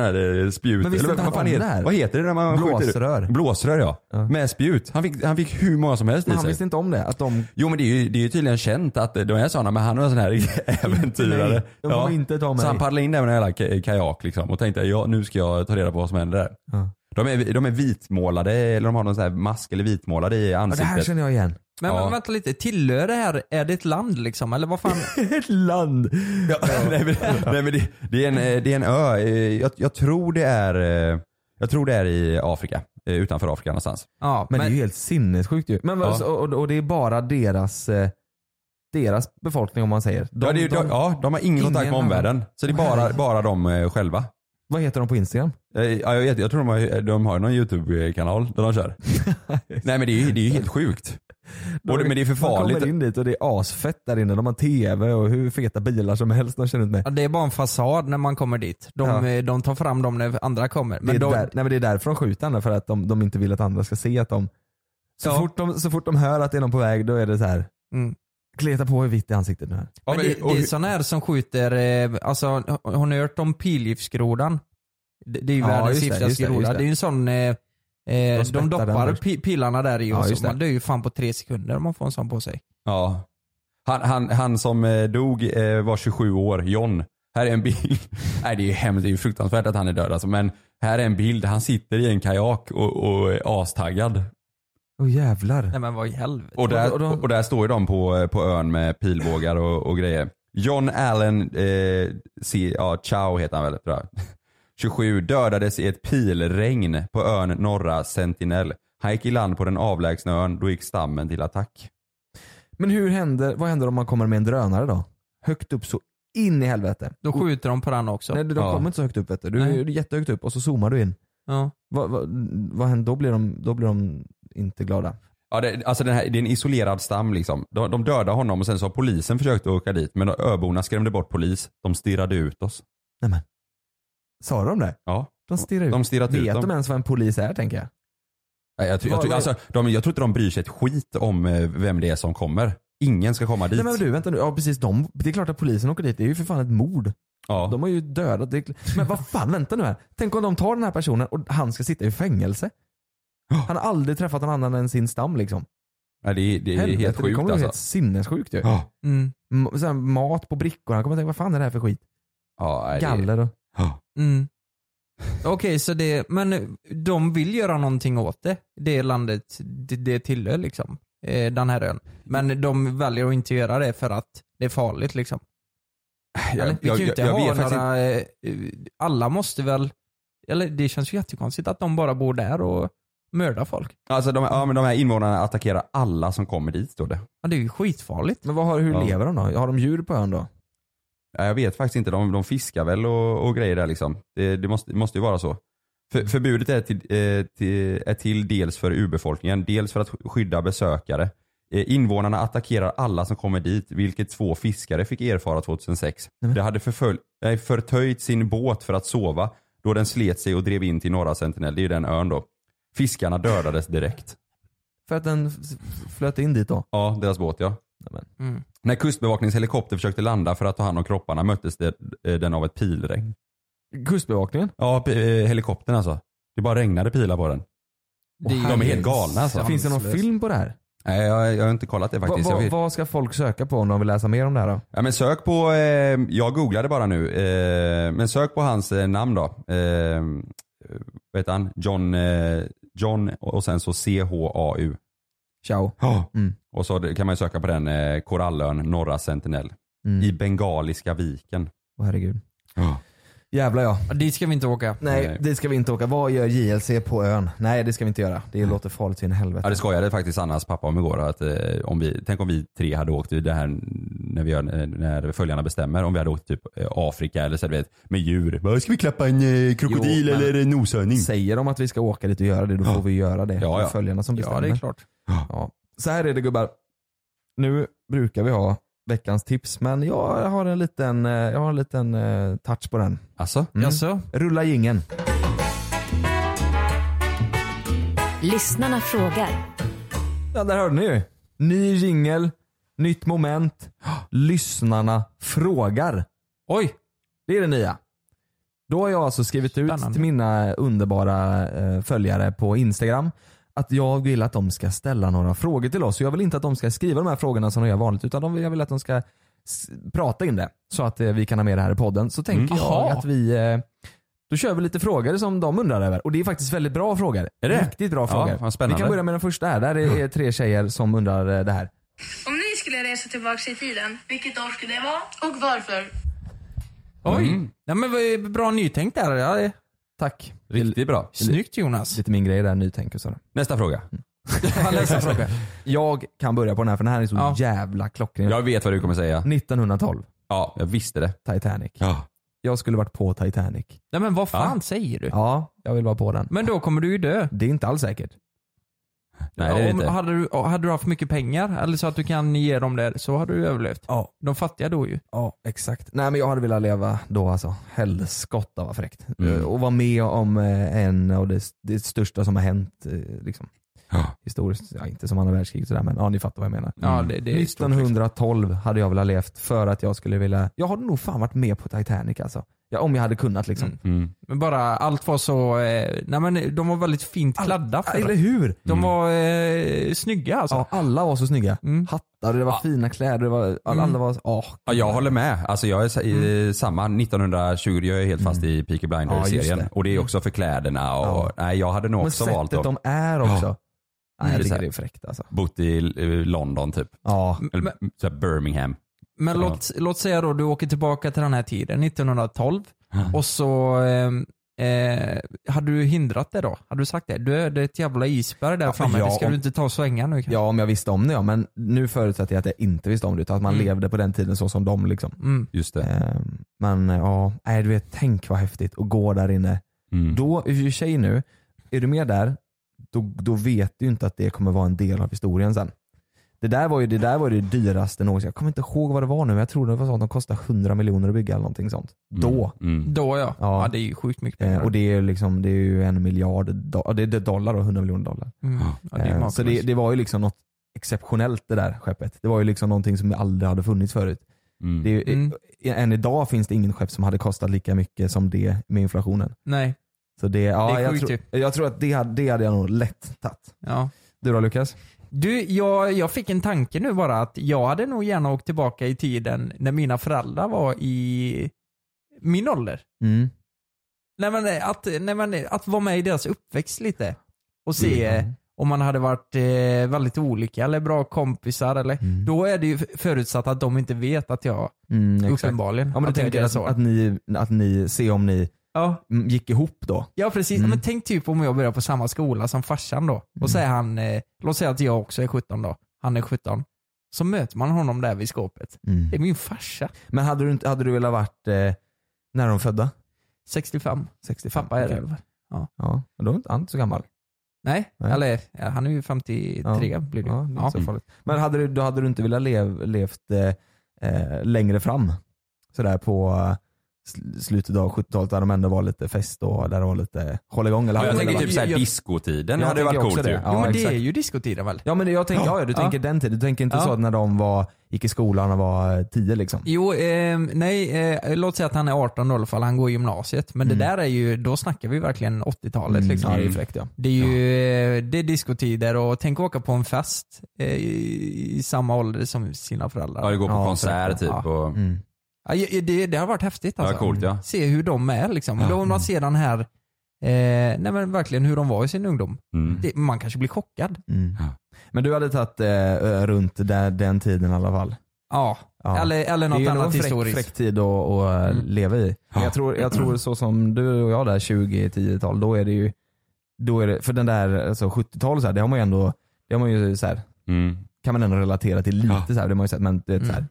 Speaker 6: här eh, spjut.
Speaker 5: Men visste inte han
Speaker 6: vad, fan
Speaker 5: om det
Speaker 6: heter,
Speaker 5: här?
Speaker 6: vad heter det när man skjuter?
Speaker 5: Blåsrör.
Speaker 6: Blåsrör ja.
Speaker 5: Ja.
Speaker 6: Med spjut. Han fick, han fick hur många som helst
Speaker 5: Men
Speaker 6: i
Speaker 5: han
Speaker 6: sig.
Speaker 5: visste inte om det. Att de,
Speaker 6: Jo men det är ju, det är ju tydligen känt att de är sådana, men han var en sån här äventyrare.
Speaker 5: Nej, de kommer inte ta mig.
Speaker 6: Så han paddlade in där med en jävla ka- kajak liksom och tänkte ja, nu ska jag ta reda på vad som händer där.
Speaker 5: Ja.
Speaker 6: De, är, de är vitmålade, eller de har någon sån här mask eller vitmålade i
Speaker 5: ja, det här
Speaker 6: ansiktet.
Speaker 5: känner jag igen.
Speaker 7: Men,
Speaker 6: Ja.
Speaker 7: men vänta lite, tillhör det här, är det ett land liksom? Eller vad fan?
Speaker 5: Ett land.
Speaker 6: Ja, nej, men, nej, men det, det, är en, eh, det är en ö, eh, jag, jag, tror det är, eh, jag tror det är i Afrika. eh, Utanför Afrika någonstans.
Speaker 7: Ja,
Speaker 5: Men, det är ju helt sinnessjukt ju. Men, vad-
Speaker 6: Ja.
Speaker 5: och, och- och det är bara deras, eh, deras befolkning om man säger. De,
Speaker 6: ja, det är, ju-
Speaker 5: de,
Speaker 6: de, ja, de har ingen, kontakt
Speaker 5: ingen
Speaker 6: med omvärlden. Så det är bara,
Speaker 5: Herregud.
Speaker 6: bara de eh, själva.
Speaker 5: Vad heter de på Instagram?
Speaker 6: Eh, Ja, jag, vet, jag tror de har, de har någon YouTube-kanal där de kör. Nej men det är ju, det är ju helt sjukt. Och det, men det är för
Speaker 5: De
Speaker 6: farligt.
Speaker 5: kommer in dit och det är asfett där inne. De har tv och hur feta bilar som helst de kör runt med.
Speaker 7: Ja, det är bara en fasad när man kommer dit. De,
Speaker 5: Ja.
Speaker 7: eh, de tar fram dem när andra kommer.
Speaker 5: Men det,
Speaker 7: Men
Speaker 5: är
Speaker 7: de,
Speaker 5: där, nej, men det är därför de skjuter andra, för att de, de inte vill att andra ska se att de så,
Speaker 7: Ja.
Speaker 5: fort de... så fort de hör att det är någon på väg, då är det så här.
Speaker 7: Mm.
Speaker 5: Kleta på i vitt i ansiktet nu här.
Speaker 6: Ja,
Speaker 7: men det,
Speaker 6: och-
Speaker 7: det är sådana här som skjuter, eh, alltså har har ni hört om pilgiftsgrodan? Det, det är ju
Speaker 5: Ja,
Speaker 7: världens
Speaker 5: just det, just
Speaker 7: giftigaste
Speaker 5: det, just
Speaker 7: groda.
Speaker 5: det.
Speaker 7: Det är ju en sån, eh, eh, de,
Speaker 5: spettar den
Speaker 7: doppar
Speaker 5: först.
Speaker 7: pi, pilarna där i
Speaker 5: Ja,
Speaker 7: och
Speaker 5: just
Speaker 7: så
Speaker 5: det.
Speaker 7: man dör ju fan på tre sekunder om man får en sån på sig.
Speaker 6: Ja. Han, han, han som eh, dog eh, var 27 år, John. Här är en bild. Nej det är ju hemskt, det är ju fruktansvärt att han är död alltså. Men här är en bild, han sitter i en kajak och, och är astaggad.
Speaker 5: Åh jävlar.
Speaker 7: Nej men vad i helvete.
Speaker 6: Och där, och där står ju de på, eh, på ön med pilbågar och, och grejer. John Allen eh, C, ja, Chow heter han väl tror jag. 27 dödades i ett pilregn på ön Norra Sentinel. Han gick i land på den avlägsna ön, då gick stammen till attack.
Speaker 5: Men hur händer, vad händer om man kommer med en drönare då? Högt upp så in i helvete.
Speaker 7: Då skjuter de på den också.
Speaker 5: Nej, de
Speaker 7: Ja.
Speaker 5: kommer inte så högt upp vet du. Du
Speaker 7: Nej.
Speaker 5: är jättehögt upp och så zoomar du in.
Speaker 7: Ja.
Speaker 5: Vad, vad, vad händer? Då blir, de, då blir de inte glada.
Speaker 6: Ja, det, alltså den här, det är en isolerad stam liksom. De, de dödade honom och sen så har polisen försökt att åka dit men de- öborna skrämde bort polis. De stirrade ut oss.
Speaker 5: Sa de det?
Speaker 6: Ja.
Speaker 5: De stirrar ut.
Speaker 6: De stirrat ut
Speaker 5: Vet
Speaker 6: dem.
Speaker 5: de ens vad en polis är tänker jag?
Speaker 6: Nej, Jag, tror- jag, tror- alltså, de, jag tror inte de bryr sig ett skit om eh, vem det är som kommer. Ingen ska komma dit.
Speaker 5: Nej men du vänta nu, ja precis de, det är klart att polisen åker dit, det är ju för fan ett mord.
Speaker 6: Ja.
Speaker 5: De har ju dödat, det är, kl- men vad fan vänta nu här. Tänk om de tar den här personen och han ska sitta i fängelse. Han har aldrig träffat någon annan än sin stam liksom.
Speaker 6: Nej, det, är- det är
Speaker 5: Helvete,
Speaker 6: helt
Speaker 5: det
Speaker 6: sjukt
Speaker 5: kommer bli
Speaker 6: alltså.
Speaker 5: helt sinnessjukt ju.
Speaker 6: Ja.
Speaker 7: Mm.
Speaker 5: M- så här, mat på brickor, han kommer tänka vad fan är det här för skit?
Speaker 6: Ja, nej, det-
Speaker 5: Galler och...
Speaker 7: Mm. Okej, så det, men de vill göra någonting åt det. Det landet det, det tillhör liksom. eh, Den här ön. Men de väljer att inte göra det för att det är farligt liksom.
Speaker 6: Jag-
Speaker 7: Eller, vi
Speaker 6: jag-
Speaker 7: kan ju inte
Speaker 6: jag- jag
Speaker 7: ha
Speaker 6: vet faktiskt
Speaker 7: några, eh, alla måste väl, eller det känns ju jättekonstigt att de bara bor där och mördar folk.
Speaker 6: Alltså de, ja, men de här invånarna attackerar alla som kommer dit står det.
Speaker 7: Ja, det är ju skitfarligt.
Speaker 5: Men vad har, hur
Speaker 6: Ja.
Speaker 5: lever de då? Har de djur på ön då?
Speaker 6: Ja, jag vet faktiskt inte, de, de fiskar väl och, och grejer där liksom. Det, det, måste, det måste ju vara så. För, förbudet är till, eh, till, är till dels för urbefolkningen, dels för att skydda besökare. Eh, invånarna attackerar alla som kommer dit, vilket två fiskare fick erfara 2006. De hade förfölj, nej, förtöjt sin båt för att sova då den slet sig och drev in till norra Sentinel, det är ju den ön då. Fiskarna dödades direkt.
Speaker 5: För att den f- flöt in dit då?
Speaker 6: Ja, deras båt ja.
Speaker 7: Mm.
Speaker 6: När kustbevakningshelikopter försökte landa för att ta hand om kropparna möttes det, eh, den av ett pilregn.
Speaker 5: Kustbevakningen?
Speaker 6: Ja, pi- eh, helikoptern alltså. Det bara regnade pilar på den.
Speaker 5: Det är
Speaker 6: De är
Speaker 5: ju
Speaker 6: helt galna alltså.
Speaker 5: Finns det någon film på det här?
Speaker 6: Nej, jag, jag har inte kollat det faktiskt.
Speaker 5: Va- va-
Speaker 6: jag vet.
Speaker 5: Vad ska folk söka på om de vill läsa mer om det här då?
Speaker 6: Ja, men sök på, eh, jag googlade bara nu, eh, men sök på hans eh, namn då. Eh, vad heter han? John, eh, John och sen så C-H-A-U.
Speaker 5: Ciao.
Speaker 6: Ja.
Speaker 5: Mm.
Speaker 6: Och så kan man ju söka på den eh, korallön, norra Sentinel.
Speaker 5: Mm.
Speaker 6: I Bengaliska viken.
Speaker 5: Åh herregud.
Speaker 6: Ja.
Speaker 5: Jävlar ja.
Speaker 7: Ja, Dit ska vi inte åka.
Speaker 5: Nej,
Speaker 6: Nej.
Speaker 5: det ska vi inte åka. Vad gör JLC på ön? Nej det ska vi inte göra. Det låter farligt så in i helvete.
Speaker 6: Ja det skojade faktiskt Annas pappa om igår. Att, eh, om vi, tänk om vi tre hade åkt i det här när, vi gör, eh, när följarna bestämmer. Om vi hade åkt typ eh, Afrika eller så du vet, med djur. Bara, Ska vi klappa en eh, krokodil
Speaker 5: Jo, men-
Speaker 6: eller en noshörning?
Speaker 5: Säger de att vi ska åka dit och göra det, då får vi göra det.
Speaker 6: Mm. Ja,
Speaker 5: Det är
Speaker 6: ja.
Speaker 5: Följarna som bestämmer.
Speaker 7: Ja, det är klart.
Speaker 5: Ja. Så här är det gubbar. Nu brukar vi ha veckans tips, men jag har en liten, eh, jag har en liten eh, touch på den.
Speaker 6: Alltså?
Speaker 5: Mm.
Speaker 7: Jaså?
Speaker 5: Rulla gingen.
Speaker 11: Lyssnarna frågar.
Speaker 5: Ja, där hörde ni ju. Ny jingel, nytt moment. Lyssnarna frågar.
Speaker 7: Oj!
Speaker 5: Det är det nya. Då har jag alltså skrivit ut
Speaker 7: Spännande.
Speaker 5: till mina underbara eh, följare på Instagram att jag vill att de ska ställa några frågor till oss. Jag vill inte att de ska skriva de här frågorna som de gör vanligt utan de, jag vill att de ska s- prata in det så att eh, vi kan ha med det här i podden. Så tänker
Speaker 7: Mm.
Speaker 5: jag
Speaker 7: Jaha.
Speaker 5: att vi eh, då kör vi lite frågor som de undrar över. Och det är faktiskt väldigt bra frågor.
Speaker 6: Är det?
Speaker 5: Riktigt bra
Speaker 6: Ja,
Speaker 5: frågor.
Speaker 6: vad spännande.
Speaker 5: Vi kan börja med den första här. Där är, är tre tjejer som undrar eh, det här.
Speaker 12: Om ni skulle resa tillbaka i tiden, vilket år skulle det vara och varför?
Speaker 7: Oj!
Speaker 6: Mm.
Speaker 7: Ja, men vad- bra nytänkt där. Ja, det-
Speaker 5: Tack.
Speaker 6: Riktigt bra.
Speaker 7: Snyggt Jonas.
Speaker 5: Lite min grej där, nytänk och sådär.
Speaker 6: Nästa fråga.
Speaker 5: Mm,
Speaker 7: Ja, nästa fråga.
Speaker 5: Jag kan börja på den här för den här är så
Speaker 7: Ja.
Speaker 5: jävla klockren.
Speaker 6: Jag vet vad du kommer säga.
Speaker 5: Mm. 1912,
Speaker 6: Ja, jag visste det.
Speaker 5: Titanic.
Speaker 6: Ja.
Speaker 5: Jag skulle varit på Titanic.
Speaker 7: Nej men vad fan
Speaker 6: Ja.
Speaker 7: säger du?
Speaker 5: Ja, jag vill vara på den.
Speaker 7: Men då kommer du ju dö.
Speaker 5: Det är inte alls säkert.
Speaker 6: Nej, det är det
Speaker 7: Om,
Speaker 6: inte.
Speaker 7: hade, du, hade du haft mycket pengar, eller så att du kan ge dem det, så hade du överlevt.
Speaker 5: Ja.
Speaker 7: De fattiga då ju.
Speaker 5: Ja, exakt. Nej men jag hade velat leva då alltså. Helskotta vad fräckt.
Speaker 6: Mm.
Speaker 5: Eh, Och vara med om eh, en av det, det största som har hänt eh, liksom.
Speaker 6: Ja.
Speaker 5: Historiskt, ja, inte som andra världskriget sådär men ja ni fattar vad jag menar.
Speaker 6: Mm.
Speaker 7: Ja, det, det är stort, liksom.
Speaker 5: 1912 hade jag velat levt för att jag skulle vilja, jag hade nog fan varit med på Titanic alltså. Ja, om jag hade kunnat liksom.
Speaker 7: Mm.
Speaker 6: Mm.
Speaker 7: Men bara allt var så, eh, nej men de var väldigt fint kladda för
Speaker 5: Eller hur?
Speaker 7: De
Speaker 6: Mm.
Speaker 7: var eh, snygga alltså.
Speaker 5: Ja, alla var så snygga.
Speaker 7: Mm.
Speaker 5: Hattar, det var fina kläder, det var, alla, alla var, åh.
Speaker 6: Ja, jag håller med. Alltså jag är sa- eh, samma. 1920, jag är helt fast i Peaky
Speaker 5: Mm. Ja, just
Speaker 6: Blinders-serien.
Speaker 5: det. Mm.
Speaker 6: och det är också för kläderna och,
Speaker 5: Ja.
Speaker 6: nej jag hade nog
Speaker 5: Men
Speaker 6: också valt
Speaker 5: sättet
Speaker 6: dem.
Speaker 5: de är också. Nej, jag
Speaker 6: är
Speaker 5: tycker
Speaker 6: så här-
Speaker 5: det är fräckt alltså.
Speaker 6: Bott i eh, London typ.
Speaker 5: Ja.
Speaker 7: Mm,
Speaker 6: Eller så här Birmingham.
Speaker 7: Men
Speaker 6: Ja.
Speaker 7: låt, låt säga då du åker tillbaka till den här tiden, 1912. Och så eh, eh, hade du hindrat det då? Hade du sagt det? Du, det är ett jävla isberg där framme,
Speaker 5: ja,
Speaker 7: det ska
Speaker 5: om-
Speaker 7: du inte ta och svänga nu kanske?
Speaker 5: Ja, om jag visste om det ja. Men nu förutsätter jag att jag inte visste om det utan att man
Speaker 7: Mm.
Speaker 5: levde på den tiden så som de liksom.
Speaker 7: Mm.
Speaker 6: Just det.
Speaker 5: Ehm, Men ja, nej, du vet, tänk vad häftigt att gå där inne.
Speaker 6: Mm.
Speaker 7: Mm.
Speaker 5: Då, i och för sig nu, är du med där, då, då vet du ju inte att det kommer vara en del av historien sen. Det där var ju det, där var ju det dyraste någonsin. Jag kommer inte ihåg vad det var nu men jag tror det var sånt de kostade 100 miljoner att bygga eller någonting sånt.
Speaker 6: Mm.
Speaker 5: Då.
Speaker 7: Då ja.
Speaker 5: Ja.
Speaker 7: ja. det är ju sjukt mycket
Speaker 5: Eh,
Speaker 7: pengar.
Speaker 5: och det är, ju liksom, det är ju en miljard do- ja, det är det dollar då, 100 miljoner dollar.
Speaker 7: Mm. Ja, det är
Speaker 5: Eh,
Speaker 7: makalöst.
Speaker 5: så det, det var ju liksom något exceptionellt det där skeppet. Det var ju liksom någonting som aldrig hade funnits förut. Det är, ju-
Speaker 7: Mm.
Speaker 5: eh, Än idag finns det ingen skepp som hade kostat lika mycket som det med inflationen.
Speaker 7: Nej.
Speaker 5: Så det, ja,
Speaker 7: Det är
Speaker 5: jag,
Speaker 7: sjukt typ.
Speaker 5: tror,
Speaker 7: ju.
Speaker 5: jag tror att det, hade- det hade jag nog lätt tagit.
Speaker 7: Ja.
Speaker 5: Du då Lukas?
Speaker 7: Du, jag, jag fick en tanke nu bara att jag hade nog gärna åkt tillbaka i tiden när mina föräldrar var i min ålder.
Speaker 5: Mm.
Speaker 7: Nej, men, eh, att, nej, men, eh, att vara med i deras uppväxt lite. Och se eh,
Speaker 5: Mm.
Speaker 7: om man hade varit eh, väldigt olika eller bra kompisar. Eller, Då är det ju förutsatt att de inte vet att jag
Speaker 5: Mm, exakt.
Speaker 7: uppenbarligen.
Speaker 5: Ja, men du
Speaker 7: att jag är
Speaker 5: tänker
Speaker 7: deras
Speaker 5: att,
Speaker 7: son.
Speaker 5: att, ni, att ni ser om ni
Speaker 7: Ja.
Speaker 5: mm, gick ihop då?
Speaker 7: Ja precis,
Speaker 5: Mm.
Speaker 7: men tänk typ om jag börjar på samma skola som farsan då. Och så är han, eh, låt säga att jag också är 17 då. Han är 17. Så möter man honom där vid skåpet.
Speaker 5: Mm.
Speaker 7: Det är min farsa.
Speaker 5: Men hade du, inte- hade du velat varit, eh, när är de födda?
Speaker 7: 65.
Speaker 5: 65.
Speaker 7: Pappa är
Speaker 5: okej.
Speaker 7: 11. Ja.
Speaker 5: Ja, men då är inte han så gammal.
Speaker 7: Nej,
Speaker 5: Nej.
Speaker 7: eller ja, han är ju 53 blir det ju.
Speaker 5: Ja, det är inte så
Speaker 7: Ja.
Speaker 5: farligt. Men hade du, då hade du inte velat lev, levt eh, eh, längre fram? Sådär på eh, sl- slutet av 70-talet där de ändå var lite fest och där det var lite hålligång. Eller
Speaker 6: Ja, jag
Speaker 5: hade
Speaker 6: tänker
Speaker 5: velat-
Speaker 6: typ såhär
Speaker 5: jag-
Speaker 6: discotiden
Speaker 5: jag
Speaker 6: hade ju varit
Speaker 5: tänker också
Speaker 6: coolt
Speaker 5: det.
Speaker 6: ju.
Speaker 5: Ja,
Speaker 7: jo men
Speaker 5: exakt.
Speaker 7: det är ju discotiden väl?
Speaker 5: Ja men det- jag tänker, ja, ja du
Speaker 7: Ja.
Speaker 5: tänker den tiden. Du tänker inte
Speaker 7: Ja.
Speaker 5: så att när de var, gick i skolan och var eh, tio liksom.
Speaker 7: Jo, eh, nej, eh, låt säga att han är 18 då i alla fall, han går i gymnasiet. Men det där är ju, då snackar vi verkligen 80-talet
Speaker 5: Mm,
Speaker 7: liksom.
Speaker 5: ja, det är fräckt, ja.
Speaker 7: Det är ju eh, det är diskotider och tänk åka på en fest eh, i, i samma ålder som sina föräldrar.
Speaker 6: Ja, det går på
Speaker 7: Ja,
Speaker 6: konsert
Speaker 7: fräckt, ja.
Speaker 6: typ. Och,
Speaker 5: Mm.
Speaker 7: Ja, ja, det, det har varit häftigt
Speaker 6: Ja,
Speaker 7: alltså.
Speaker 6: coolt, ja.
Speaker 7: Se hur de är liksom.
Speaker 6: Ja.
Speaker 7: Då om man ser den här, eh, nej men verkligen hur de var i sin ungdom.
Speaker 6: Mm.
Speaker 7: Det, man kanske blir chockad.
Speaker 5: Mm. Men du hade tagit eh, ö, runt där, den tiden i alla fall?
Speaker 7: Ja,
Speaker 5: Ja.
Speaker 7: Eller, eller något
Speaker 5: det är ju nog
Speaker 7: annat
Speaker 5: en fräck,
Speaker 7: historiskt.
Speaker 5: fräck tid att, att eh, leva i. Men Jag, tror, jag tror så som du och jag där 20-10-tal, då är det ju, då är det, för den där alltså 70-tal så här, det har man ju ändå, det har man ju så här,
Speaker 6: Mm.
Speaker 5: kan man ändå relatera till lite så här, det har man ju sett, men det är så här,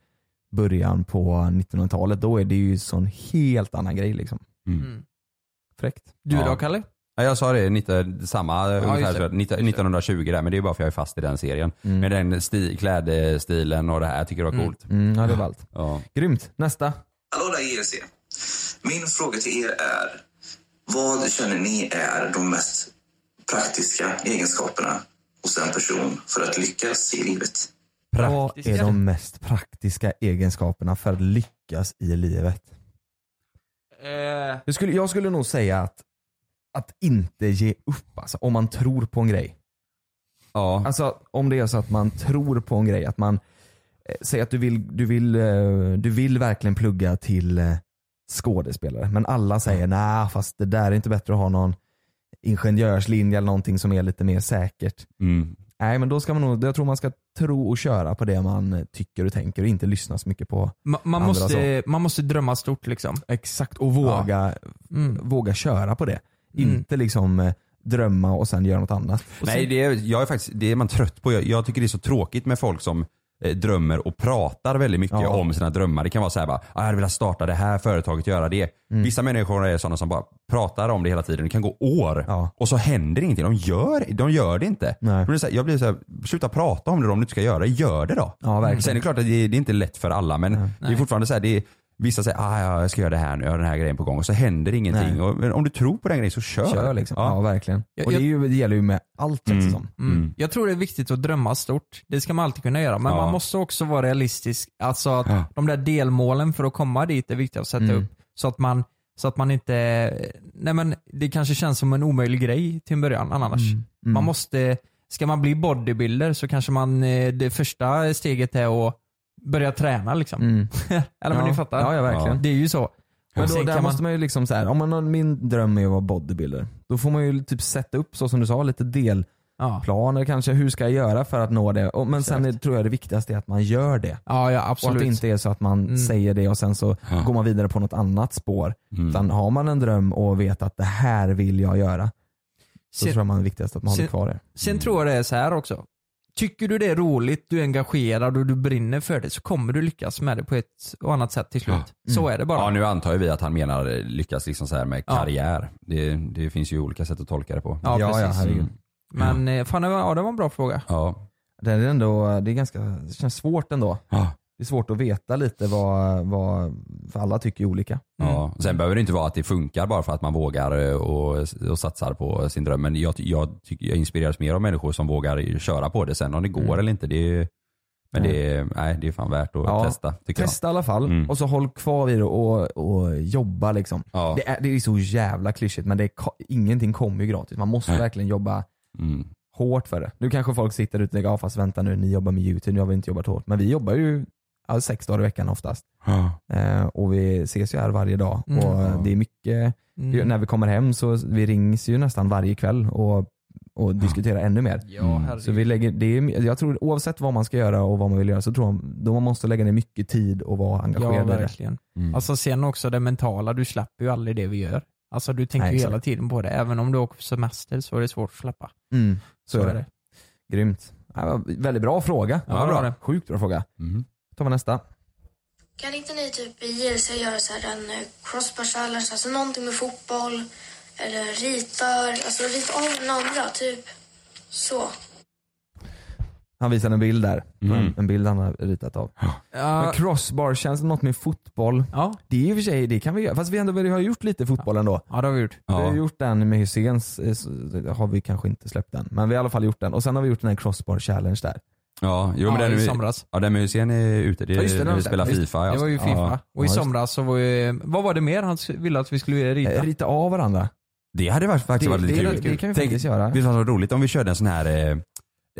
Speaker 5: början på 1900-talet, då är det ju sån helt annan grej liksom.
Speaker 7: Mm.
Speaker 5: Fräckt.
Speaker 7: Du
Speaker 6: Ja.
Speaker 7: då Kalle?
Speaker 6: Ja, jag sa det, 19, samma ungefär,
Speaker 7: just det.
Speaker 6: så att 19- 1920 där, men det är bara för jag är fast i den serien.
Speaker 5: Mm.
Speaker 6: Med den sti, klädstilen och det här, jag tycker det var coolt.
Speaker 5: Mm, ja, det var allt.
Speaker 6: Ja.
Speaker 5: Grymt, nästa.
Speaker 13: Hallå där IRC. Min fråga till er är, vad känner ni är de mest praktiska egenskaperna hos en person för att lyckas i livet?
Speaker 5: Vad är de mest praktiska egenskaperna för att lyckas i livet? Jag skulle, jag skulle nog säga att, att inte ge upp alltså, om man tror på en grej.
Speaker 6: Ja.
Speaker 5: Alltså om det är så att man tror på en grej, att man eh, säger att du vill, du vill, eh, du vill verkligen plugga till eh, skådespelare men alla säger nej fast det där är inte bättre att ha någon ingenjörslinje eller någonting som är lite mer säkert.
Speaker 6: Mm.
Speaker 5: Nej men då ska man nog, jag tror man ska tro och köra på det man eh, tycker och tänker och inte lyssna så mycket på
Speaker 7: Ma- man,
Speaker 5: andra
Speaker 7: måste, man måste drömma stort liksom.
Speaker 5: Exakt, och våga,
Speaker 7: Mm.
Speaker 5: våga köra på det. Inte liksom eh, drömma och sen göra något annat.
Speaker 6: Nej, det är, jag är faktiskt, det är man trött på. Jag, jag tycker det är så tråkigt med folk som eh, drömmer och pratar väldigt mycket
Speaker 5: Ja.
Speaker 6: om sina drömmar. Det kan vara så här bara, "Ah, jag hade velat starta det här företaget, göra det.
Speaker 5: Mm.
Speaker 6: Vissa människor är sådana som bara pratar om det hela tiden. Det kan gå år och så händer ingenting. De gör, de gör det inte. Men det är så här, jag blir så här, sluta prata om det om du inte ska göra det. Gör det då.
Speaker 5: Ja, verkligen.
Speaker 6: Sen är det klart att det, det är inte lätt för alla men det är fortfarande så här, det är, Vissa säger ah, ja, jag ska göra det här nu, jag har den här grejen på gång och så händer ingenting. Och, men om du tror på den grejen så kör.
Speaker 5: Kör liksom. Ja, verkligen.
Speaker 7: Jag-
Speaker 5: och det, är ju, det gäller ju med allt känns det som.
Speaker 7: Mm. Jag tror det är viktigt att drömma stort. Det ska man alltid kunna göra. Men
Speaker 5: Ja.
Speaker 7: man måste också vara realistisk. Alltså att
Speaker 5: Ja.
Speaker 7: de där delmålen för att komma dit är viktiga att sätta
Speaker 5: Mm.
Speaker 7: upp. Så att man, så att man inte, nej men det kanske känns som en omöjlig grej till en början annars.
Speaker 5: Mm. Mm.
Speaker 7: Man måste, ska man bli bodybuilder så kanske man, eh, det första steget är att börja träna liksom.
Speaker 5: Mm.
Speaker 7: Eller men
Speaker 5: Ja.
Speaker 7: ni fattar.
Speaker 5: Ja, ja, verkligen.
Speaker 7: Det är ju så.
Speaker 5: Men
Speaker 7: Och
Speaker 5: då,
Speaker 7: sen
Speaker 5: där
Speaker 7: kan
Speaker 5: måste man ju liksom så här, om man har, min dröm är att vara bodybuilder. Då får man ju typ sätta upp, så som du sa, lite del, planer kanske. Hur ska jag göra för att nå det? Och, men sen är, tror jag det viktigaste är att man gör det.
Speaker 7: Ja, ja
Speaker 5: Och att
Speaker 7: absolut.
Speaker 5: det inte är så att man
Speaker 7: Mm.
Speaker 5: säger det och sen så går man vidare på något annat spår.
Speaker 6: Mm.
Speaker 5: Utan har man en dröm och vet att det här vill jag göra, så
Speaker 7: Sen-
Speaker 5: tror jag man är viktigast att man håller
Speaker 7: sen-
Speaker 5: kvar det.
Speaker 7: Sen
Speaker 6: Mm.
Speaker 7: tror jag det är så här också. Tycker du det är roligt, du är engagerad och du brinner för det så kommer du lyckas med det på ett och annat sätt till slut. Så är det bara.
Speaker 6: Ja, nu antar ju vi att han menar eh, lyckas liksom så här med
Speaker 7: Ja.
Speaker 6: karriär. Det, det finns ju olika sätt att tolka det på.
Speaker 7: Ja, Ja, precis. ja, herregud.
Speaker 6: Mm.
Speaker 7: Men eh, fan, det var, ja, det var en bra fråga.
Speaker 6: Ja.
Speaker 5: Det är ändå, det är ganska, det känns svårt ändå. Det är svårt att veta lite vad, vad för alla tycker ju olika.
Speaker 7: Mm.
Speaker 6: Ja. Sen behöver det inte vara att det funkar bara för att man vågar eh, och, och satsar på sin dröm. Men jag, jag, tycker, jag inspireras mer av människor som vågar köra på det. Sen om det går
Speaker 7: Mm.
Speaker 6: eller inte, det är, men det, är, nej, det är fan värt att
Speaker 5: Ja.
Speaker 6: testa. Tycker
Speaker 5: Testa i alla fall
Speaker 6: Mm.
Speaker 5: och så håll kvar vid det och, och jobba liksom. Det, är, det är så jävla klyschigt men det är, ko- ingenting kommer ju gratis. Man måste
Speaker 6: Nej.
Speaker 5: verkligen jobba
Speaker 6: Mm.
Speaker 5: hårt för det. Nu kanske folk sitter ute och tänker, ja fast vänta nu, ni jobbar med YouTube, nu har vi inte jobbat hårt. Men vi jobbar ju ja, sex dagar i veckan oftast. Eh, och vi ses ju här varje dag.
Speaker 7: Mm.
Speaker 5: Och eh, det är mycket,
Speaker 7: Mm.
Speaker 5: ju- när vi kommer hem så vi rings ju nästan varje kväll och, och diskuterar ännu mer.
Speaker 6: Mm.
Speaker 7: herregud.
Speaker 5: Så vi lägger, det är, jag tror oavsett vad man ska göra och vad man vill göra så tror jag då man måste lägga ner mycket tid och vara
Speaker 7: Ja,
Speaker 5: engagerad i det.
Speaker 7: verkligen.
Speaker 6: Mm.
Speaker 7: Alltså sen också det mentala, du släpper ju aldrig det vi gör. Alltså du tänker
Speaker 5: Nej,
Speaker 7: ju
Speaker 5: exakt.
Speaker 7: hela tiden på det. Även om du åker på semester så är det svårt att släppa.
Speaker 5: Mm, så, är det. Grymt. Ja, vad- väldigt bra fråga.
Speaker 7: Ja, bra.
Speaker 5: Sjukt bra fråga. tar vi nästa.
Speaker 14: Kan inte ni typ i JLC göra så här en eh, crossbar challenge, alltså någonting med fotboll eller rita, alltså rita av den andra, typ så.
Speaker 5: Han visade en bild där. En, en bild han har ritat av. Men crossbar känns något med fotboll. Det är i och för sig, det kan vi göra. Fast vi, ändå, vi har gjort lite fotboll ändå.
Speaker 7: Ja det har vi gjort.
Speaker 5: Vi har
Speaker 7: Ja.
Speaker 5: gjort den med Hyséns, eh, så- det har vi kanske inte släppt den. Men vi har i alla fall gjort den. Och sen har vi gjort den här crossbar challenge där.
Speaker 6: Ja, jo, men
Speaker 7: Ja,
Speaker 6: den,
Speaker 7: i somras.
Speaker 6: Ja, den med Hysén är ute. Det är
Speaker 7: Ja, just det,
Speaker 6: när
Speaker 7: den-
Speaker 6: vi spelar
Speaker 7: just-
Speaker 6: Fifa. ja.
Speaker 7: Det var ju Fifa.
Speaker 6: Ja.
Speaker 7: Och i
Speaker 6: Ja, just-
Speaker 7: somras så var ju, vad var det mer han ville att vi skulle rita?
Speaker 5: Eh, Rita av varandra.
Speaker 6: Det hade varit, faktiskt
Speaker 5: Det-
Speaker 6: varit lite
Speaker 5: det-
Speaker 6: kul.
Speaker 5: det kan vi faktiskt göra.
Speaker 6: Visst hade det varit roligt om vi körde en sån här, eh,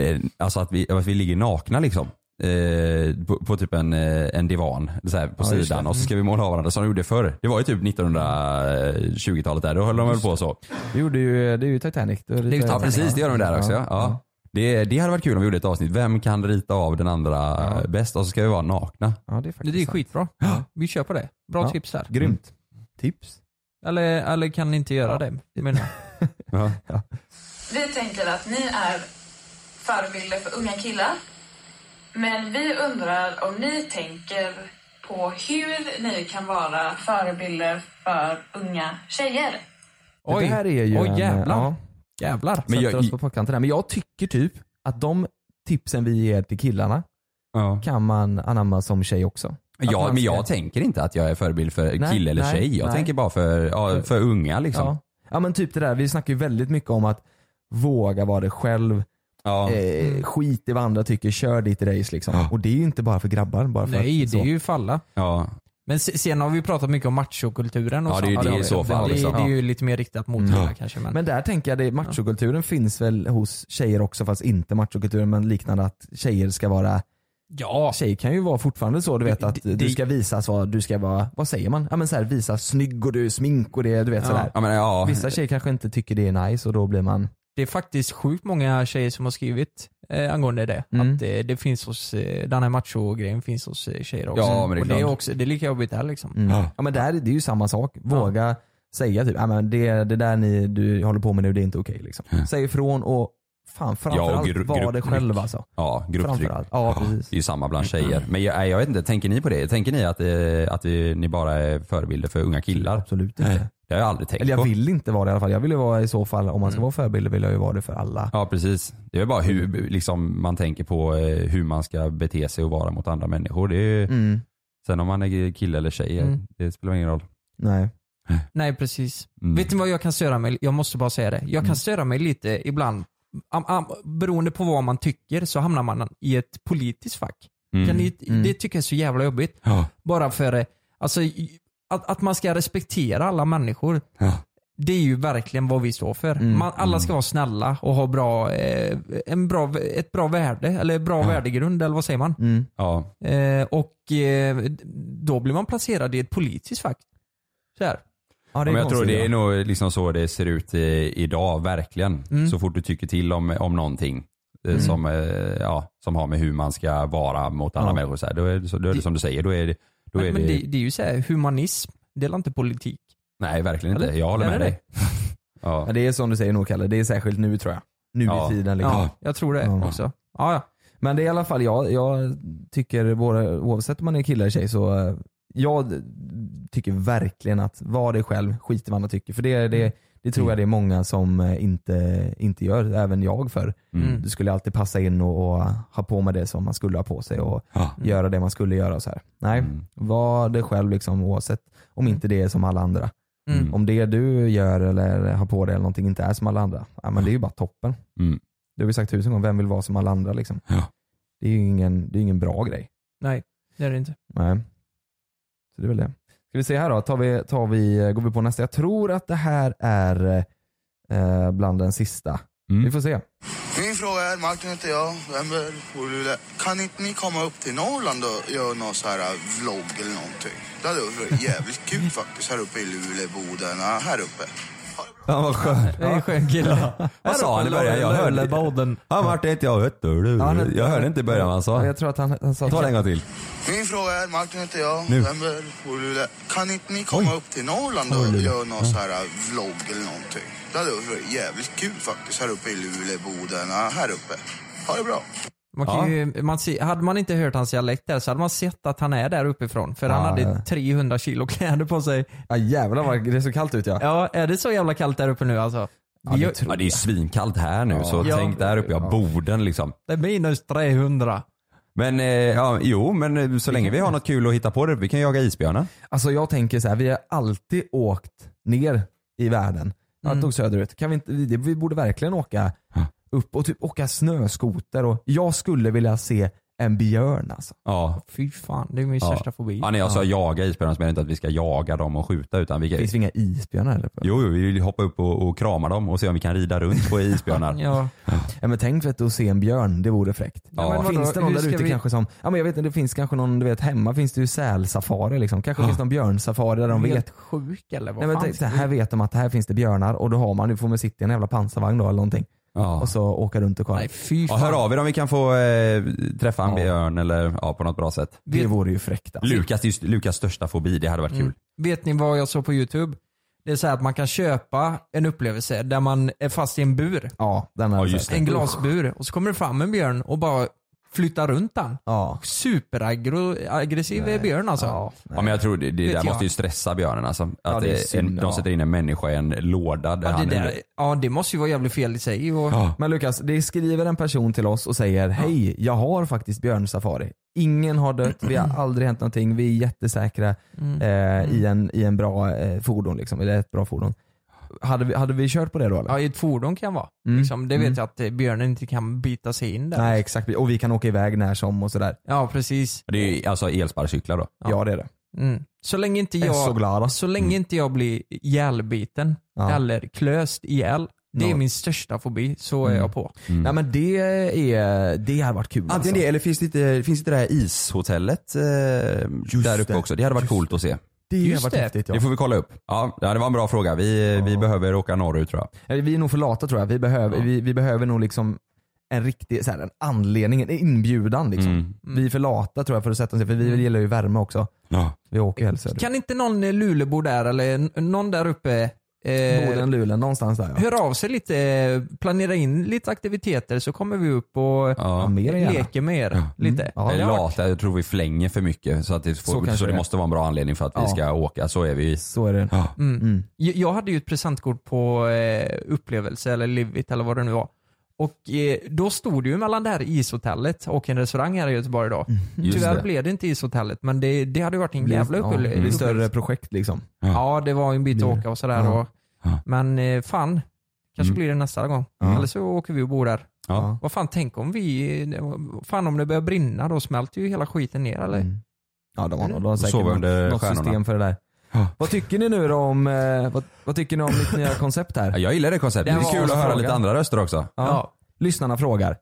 Speaker 6: eh, alltså att vi, att vi ligger nakna liksom. Eh, på, på typ en, eh, en divan så här, på
Speaker 7: Ja, just
Speaker 6: sidan
Speaker 7: det.
Speaker 6: och så ska
Speaker 5: Mm.
Speaker 6: vi måla av varandra som de gjorde förr. Det var ju typ 1920-talet där, då höll de väl på så.
Speaker 5: Vi gjorde ju, eh, det är ju Titanic. Det är lite-
Speaker 6: Ja precis, det gör de där också. Ja. Ja. Det, det hade varit kul om vi gjorde ett avsnitt. Vem kan rita av den andra bäst? Och så ska vi vara nakna.
Speaker 5: Ja, det är
Speaker 7: Det är skitbra. Vi kör på det. Bra
Speaker 6: Ja,
Speaker 7: tips här.
Speaker 5: Grymt.
Speaker 6: Mm.
Speaker 5: Tips.
Speaker 7: Eller, eller kan ni inte göra det? Menar.
Speaker 6: Ja.
Speaker 12: Vi tänker att ni är förebilder för unga killar. Men vi undrar om ni tänker på hur ni kan vara förebilder för unga tjejer.
Speaker 5: Oj, det här är ju
Speaker 7: Oj,
Speaker 5: en, eh,
Speaker 7: jävlar.
Speaker 5: Ja,
Speaker 7: jävlar.
Speaker 5: Men
Speaker 7: Sätter
Speaker 5: jag,
Speaker 7: oss
Speaker 5: oss på pottkanten här. Men jag tycker typ att de tipsen vi ger till killarna kan man anamma som tjej också. Att
Speaker 6: Ja,
Speaker 5: man
Speaker 6: men
Speaker 5: ska-
Speaker 6: jag tänker inte att jag är förebild för
Speaker 5: Nej,
Speaker 6: kille eller
Speaker 5: nej,
Speaker 6: tjej. Jag
Speaker 5: nej.
Speaker 6: tänker bara för, ja, för unga liksom.
Speaker 5: Ja. ja men typ det där, vi snackar ju väldigt mycket om att våga vara dig själv. Eh, skit i vad andra tycker, kör ditt race liksom. Och det är ju inte bara för grabbar. Bara för
Speaker 7: Nej,
Speaker 5: att,
Speaker 7: det är ju falla.
Speaker 6: Ja.
Speaker 7: Men se- sen har vi pratat mycket om machokulturen och
Speaker 5: Ja, det är ju det
Speaker 7: sånt. har
Speaker 5: i
Speaker 7: vi.
Speaker 5: så fall,
Speaker 7: Det,
Speaker 5: liksom.
Speaker 7: det är ju
Speaker 5: Ja.
Speaker 7: lite mer riktat mot
Speaker 5: Mm.
Speaker 7: killar
Speaker 5: Ja.
Speaker 7: kanske. Men,
Speaker 5: Men där tänker jag, det, machokulturen finns väl hos tjejer också fast inte machokulturen men liknande att tjejer ska vara
Speaker 7: Ja.
Speaker 5: Tjej kan ju vara fortfarande så du vet att du ska visas vad du ska vara, vad säger man? Ja men så här, visa snygg och du är smink och det, du vet
Speaker 7: Ja.
Speaker 5: sådär.
Speaker 7: Ja, men ja.
Speaker 5: Vissa tjejer kanske inte tycker det är nice och då blir man
Speaker 7: det är faktiskt sjukt många tjejer som har skrivit eh, angående det.
Speaker 5: Mm.
Speaker 7: Att det, det finns hos, eh, den här macho-grejen finns hos eh, tjejer också.
Speaker 5: Ja, men det är
Speaker 7: och det är,
Speaker 5: klart.
Speaker 7: också, det är lika jobbigt där liksom.
Speaker 5: Mm. Ja men där, det är ju samma sak. Våga säga typ, "Ja, men det, det där ni du håller på med nu det är inte okej. liksom. Säg ifrån och fan framförallt
Speaker 6: gru-
Speaker 5: var det
Speaker 6: grupptryck.
Speaker 5: själv alltså.
Speaker 6: Ja, grupptryck.
Speaker 5: Framförallt. Ja, precis.
Speaker 6: Det är ju samma bland tjejer. Men jag, nej, jag vet inte, tänker ni på det? Tänker ni att, eh, att vi, ni bara är förebilder för unga killar?
Speaker 5: Absolut inte.
Speaker 6: Det har jag aldrig tänkt
Speaker 5: Eller jag
Speaker 6: på.
Speaker 5: vill inte vara det i alla fall. Jag vill ju vara i så fall, om man ska vara förebild vill jag ju vara det för alla.
Speaker 6: Ja precis. Det är väl bara hur liksom, man tänker på eh, hur man ska bete sig och vara mot andra människor. Det är,
Speaker 5: Mm.
Speaker 6: Sen om man är kille eller tjej, eh,
Speaker 7: Mm.
Speaker 6: det spelar ingen roll. Mm.
Speaker 5: Nej.
Speaker 7: Nej precis.
Speaker 5: Mm.
Speaker 7: Vet ni vad jag kan störa mig? Jag måste bara säga det. Jag kan störa mig lite ibland. Am, am, beroende på vad man tycker så hamnar man i ett politiskt fack.
Speaker 6: Mm.
Speaker 7: Kan ni,
Speaker 6: Mm.
Speaker 7: Det tycker jag är så jävla jobbigt.
Speaker 6: Ja.
Speaker 7: Bara för eh, alltså, i- att, att man ska respektera alla människor. Det är ju verkligen vad vi står för.
Speaker 6: Mm,
Speaker 7: Man, alla ska vara snälla och ha bra, eh, en bra, ett bra värde, eller bra värdegrund, eller vad säger man?
Speaker 5: Mm.
Speaker 6: Ja.
Speaker 7: Eh, och eh, då blir man placerad i ett politiskt fack. Så här.
Speaker 6: Ja,
Speaker 5: det är
Speaker 6: men jag tror
Speaker 5: konstigt,
Speaker 6: det
Speaker 5: ja.
Speaker 6: är nog liksom så det ser ut i, idag, verkligen.
Speaker 5: Mm.
Speaker 6: Så fort du tycker till om, om någonting eh,
Speaker 5: Mm.
Speaker 6: som, eh, ja, som har med hur man ska vara mot andra
Speaker 7: Ja.
Speaker 6: människor. Så här, då, är det, så, då är det som du säger, då är det... Då är
Speaker 7: Men, men
Speaker 6: det,
Speaker 7: det, det är ju så här, humanism, det är inte politik?
Speaker 6: Nej, verkligen inte.
Speaker 7: Eller?
Speaker 6: Jag håller
Speaker 7: Är
Speaker 6: med
Speaker 7: det
Speaker 6: dig. ja.
Speaker 5: Ja, det är som du säger nog Kalle, det är särskilt nu tror jag. Nu
Speaker 6: Ja.
Speaker 5: i tiden liksom.
Speaker 6: Ja,
Speaker 7: jag tror det också. Ja, ja.
Speaker 5: Men det är i alla fall, jag, jag tycker både, oavsett om man är kille eller tjej så eh, jag tycker verkligen att var dig själv, skit i vad andra tycker. För det,
Speaker 7: Mm.
Speaker 5: det, det tror jag det är många som eh, inte, inte gör, även jag för.
Speaker 6: Mm.
Speaker 5: Du skulle alltid passa in och, och ha på med det som man skulle ha på sig och
Speaker 6: Mm.
Speaker 5: göra det man skulle göra. Och så här. Nej, var dig själv liksom, oavsett om inte det är som alla andra.
Speaker 6: Mm.
Speaker 5: Om det du gör eller har på dig eller någonting inte är som alla andra, ja, men det är ju bara toppen.
Speaker 6: Mm.
Speaker 5: Det har vi sagt tusen gånger, vem vill vara som alla andra liksom? Det är ju ingen, det är ingen bra grej.
Speaker 7: Nej, det är det inte.
Speaker 5: Nej. Så det är väl det. Ska vi se här då, tar vi, tar vi, går vi på nästa? Jag tror att det här är eh, bland den sista.
Speaker 6: Mm.
Speaker 5: Vi får se.
Speaker 15: Min fråga är, Martin heter jag, vem bor i Luleå. Kan inte ni komma upp till Norrland och göra någon så här eh, vlogg eller någonting? Det hade varit jävligt kul faktiskt här uppe i Luleå, Boden, ja, här uppe.
Speaker 6: Ja, vad skönt.
Speaker 7: Det är en skön kille.
Speaker 6: Vad sa han i början? Jag hörde, han vart inte jag hört.
Speaker 5: han
Speaker 6: du.
Speaker 5: hette-
Speaker 6: Jag hörde inte i början alltså. vad han
Speaker 5: Ja,
Speaker 6: sa.
Speaker 5: jag tror att han, han sa
Speaker 6: Ta det en gång till.
Speaker 15: Min fråga är, Martin heter jag,
Speaker 6: Nu.
Speaker 15: vem bor i Luleå. Kan inte ni komma upp till Norrland och
Speaker 6: Norrland.
Speaker 15: göra någon
Speaker 6: Ja.
Speaker 15: så här eh, vlogg eller någonting? Det hade varit jävligt kul faktiskt här uppe i Luleå, Boden, ja, här uppe. Ha det bra.
Speaker 7: Man kan ju, man se, hade man inte hört hans dialekt där så hade man sett att han är där uppifrån. För han
Speaker 5: Ja,
Speaker 7: hade
Speaker 5: ja.
Speaker 7: 300 kilo kläder på sig.
Speaker 5: Ja jävlar vad det är så kallt ut ja.
Speaker 7: Ja, är det så jävla kallt där uppe nu alltså?
Speaker 6: Ja, det, ja, det är ju svinkallt här nu
Speaker 7: Ja.
Speaker 6: så
Speaker 7: Ja.
Speaker 6: tänk där uppe, ja, Boden liksom.
Speaker 7: Det är minus 300.
Speaker 6: Men eh, ja, jo, men eh, så länge vi har något kul att hitta på det, vi kan jaga isbjörnar.
Speaker 5: Alltså jag tänker så här, vi har alltid åkt ner i världen. Jag tog söderut. Kan vi, inte, vi, vi borde verkligen åka upp och typ åka snöskoter. Och jag skulle vilja se en björn alltså.
Speaker 6: Ja.
Speaker 7: Fy fan, det är min största fobi.
Speaker 6: Ja, när jag sa jaga isbjörnar så menar jag inte att vi ska jaga dem och skjuta utan vi kan...
Speaker 5: Finns det inga isbjörnar eller?
Speaker 6: Jo, jo, vi vill hoppa upp och, och krama dem och se om vi kan rida runt på isbjörnar.
Speaker 7: Ja.
Speaker 5: Ja, men tänk vet du, att se en björn, det vore fräckt.
Speaker 6: Ja, men vadå?
Speaker 5: finns det någon
Speaker 6: Hur
Speaker 5: där
Speaker 6: ska
Speaker 5: ute
Speaker 6: vi-
Speaker 5: kanske som, ja, men jag vet inte, det finns kanske någon, du vet hemma finns det ju sälsafari liksom. Kanske
Speaker 7: Ja.
Speaker 5: finns det någon björnsafari där de
Speaker 7: Helt
Speaker 5: vet.
Speaker 7: sjuk eller vad
Speaker 5: Nej, men
Speaker 7: fan
Speaker 5: tänk, så
Speaker 7: ska vi-
Speaker 5: här vet de att här finns det björnar och då har man, nu får man sitta i en jävla pansarvagn då eller någonting. Och så åka runt och kolla. Nej
Speaker 7: fy
Speaker 6: Ja, hör av er om vi kan få eh, träffa en
Speaker 5: Ja.
Speaker 6: björn eller ja, på något bra sätt.
Speaker 5: Det vore ju fräckt alltså.
Speaker 6: Lukas, just, Lukas största fobi, det hade varit kul.
Speaker 7: Mm. Vet ni vad jag såg på YouTube? Det är så här att man kan köpa en upplevelse där man är fast i en bur.
Speaker 5: Ja, den har jag sett.
Speaker 7: En glasbur. Och så kommer det fram en björn och bara flyttar runt den.
Speaker 5: Ja.
Speaker 7: Superaggressiv är björn alltså.
Speaker 6: Ja, men jag tror det, det
Speaker 7: Vet
Speaker 6: där
Speaker 7: jag.
Speaker 6: måste ju stressa björnen alltså. Att
Speaker 7: Ja, det är
Speaker 6: eh,
Speaker 7: synd,
Speaker 6: en,
Speaker 7: ja.
Speaker 6: de sätter in en människa i en låda där
Speaker 7: Ja, det,
Speaker 6: han är
Speaker 7: där, ja, det måste ju vara jävligt fel i sig. Och,
Speaker 5: Men Lukas, det skriver en person till oss och säger Hej, jag har faktiskt björnsafari. Ingen har dött, vi har aldrig hänt någonting, vi är jättesäkra
Speaker 7: Mm.
Speaker 5: eh, i, en, i en bra eh, fordon. Liksom, eller ett bra fordon. Hade vi, hade vi kört på det då eller?
Speaker 7: Ja, i ett fordon kan vara.
Speaker 5: Mm.
Speaker 7: Liksom, det vet
Speaker 5: Mm.
Speaker 7: jag att eh, björnen inte kan bita sig in där.
Speaker 5: Nej exakt, och vi kan åka iväg när som och sådär.
Speaker 7: Ja, precis.
Speaker 6: Det är ju alltså elsparkcyklar då?
Speaker 5: Ja, det är det.
Speaker 7: Mm. Så länge inte
Speaker 5: Jag är så glad,
Speaker 7: jag,
Speaker 5: va?
Speaker 7: så länge
Speaker 5: Mm.
Speaker 7: inte jag blir ihjälbiten
Speaker 5: Ja.
Speaker 7: eller klöst ihjäl. Det är
Speaker 5: Nå.
Speaker 7: min största fobi, så är
Speaker 5: Mm.
Speaker 7: jag på.
Speaker 5: Mm. Ja, men det, är, det hade varit kul alltså.
Speaker 6: Antingen det eller finns det inte, finns det, inte det här ishotellet eh, där uppe också? Det hade varit coolt att se.
Speaker 5: Det hade Just varit det. häftigt, ja.
Speaker 6: Det får vi kolla upp. Ja, det var en bra fråga. Vi, vi behöver åka norrut tror jag.
Speaker 5: Eller, Vi är nog för lata tror jag. Vi behöver, vi, vi behöver nog liksom en riktig så här, en anledning, en inbjudan liksom.
Speaker 6: Mm.
Speaker 5: Vi är för lata tror jag för att sätta oss ner, för vi gillar ju värme också.
Speaker 6: Ja.
Speaker 5: Vi åker ju helst söderut.
Speaker 7: Mm. Kan inte någon eh, lulebo där eller n- någon där uppe eh,
Speaker 5: Boden, Luleå, någonstans där ja.
Speaker 7: Hör av sig lite, eh, planera in lite aktiviteter så kommer vi upp och
Speaker 6: Ja.
Speaker 5: mer än gärna. Mm.
Speaker 7: leker med er lite.
Speaker 6: Ja,
Speaker 7: Eller
Speaker 6: lata, jag tror vi flänger för mycket så, att det,
Speaker 7: Så
Speaker 6: får, så,
Speaker 7: kanske
Speaker 6: det
Speaker 7: det är.
Speaker 6: måste vara en bra anledning för att
Speaker 7: Ja.
Speaker 6: vi ska åka. Så är vi.
Speaker 5: Så är det.
Speaker 6: Ja.
Speaker 7: Mm. Jag jag hade ju ett presentkort på eh, upplevelse eller Livit eller vad det nu var. Och eh, då stod det ju mellan det här ishotellet och en restaurang här i Göteborg då.
Speaker 5: Mm. Just
Speaker 7: Tyvärr
Speaker 5: det.
Speaker 7: blev det inte ishotellet men det, det hade ju varit en
Speaker 5: Blir-
Speaker 7: jävla Mm.
Speaker 5: ja,
Speaker 7: upple-
Speaker 5: det
Speaker 7: upplevelse.
Speaker 5: blir större projekt liksom.
Speaker 7: Ja, det var en bit att åka och sådär.
Speaker 5: Ja. Mm.
Speaker 7: Och, men eh, fan, kanske blir det nästa gång.
Speaker 5: Ja.
Speaker 7: Eller så åker vi och bor där.
Speaker 6: Ja.
Speaker 7: Vad fan, tänk om vi... Fan om det börjar brinna, då smälter ju hela skiten ner eller?
Speaker 5: Mm.
Speaker 7: Mm.
Speaker 5: Ja de har, nog- de har
Speaker 6: Och
Speaker 5: säkert
Speaker 6: sova
Speaker 5: något,
Speaker 6: under
Speaker 5: något
Speaker 6: stjärnorna.
Speaker 5: system för det där. Vad tycker ni nu då om, eh, vad, vad tycker ni om mitt nya koncept här?
Speaker 6: Ja, Jag gillar det konceptet.
Speaker 5: Det
Speaker 6: Det är
Speaker 5: var
Speaker 6: kul att
Speaker 5: en
Speaker 6: höra
Speaker 5: fråga.
Speaker 6: lite andra röster också.
Speaker 5: Ja. Lyssnarna frågar.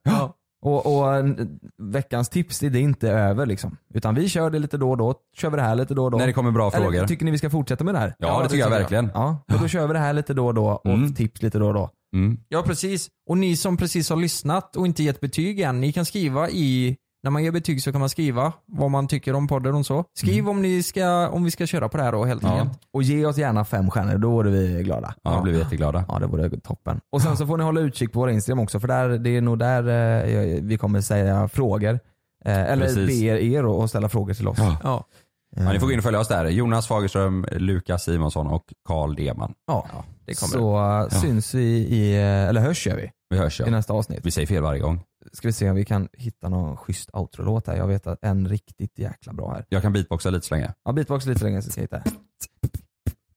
Speaker 5: Och, och en- veckans tips det är inte över liksom. Utan vi kör det lite då och då. Kör vi det här lite då och då.
Speaker 16: När det kommer bra
Speaker 5: Eller,
Speaker 16: frågor.
Speaker 5: Tycker ni vi ska fortsätta med det här?
Speaker 16: Ja, det tycker jag verkligen.
Speaker 5: Ja, och då kör vi det här lite då och då och tips lite då och då.
Speaker 17: Mm.
Speaker 6: Mm.
Speaker 17: Ja precis. Och ni som precis har lyssnat och inte gett betyg än, ni kan skriva i, när man ger betyg så kan man skriva vad man tycker om podden och så. Skriv om, ni ska, om vi ska köra på det här då helt enkelt.
Speaker 5: Mm. Och ge oss gärna fem stjärnor, då vore vi glada.
Speaker 16: Ja, då blir vi jätteglada.
Speaker 5: Ja, det vore toppen. Och sen så får ni hålla utkik på våra Instagram också för där, det är nog där eh, vi kommer säga frågor. Eh, eller
Speaker 16: Precis.
Speaker 5: be er, er och och ställa frågor till oss.
Speaker 17: Ja.
Speaker 16: Ja, ni får gå in och följa oss där. Jonas Fagerström, Lukas Simonsson och Karl Deman.
Speaker 5: Ja.
Speaker 16: det kommer
Speaker 5: så eh, syns vi i, eh, eller hörs gör vi.
Speaker 16: Vi hörs ja.
Speaker 5: I nästa avsnitt.
Speaker 16: Vi säger fel varje gång.
Speaker 5: Ska vi se om vi kan hitta någon schysst outro-låt här. Jag vet att en riktigt jäkla bra här.
Speaker 16: Jag kan beatboxa lite så länge.
Speaker 5: Ja, beatbox lite så länge så ska jag hitta.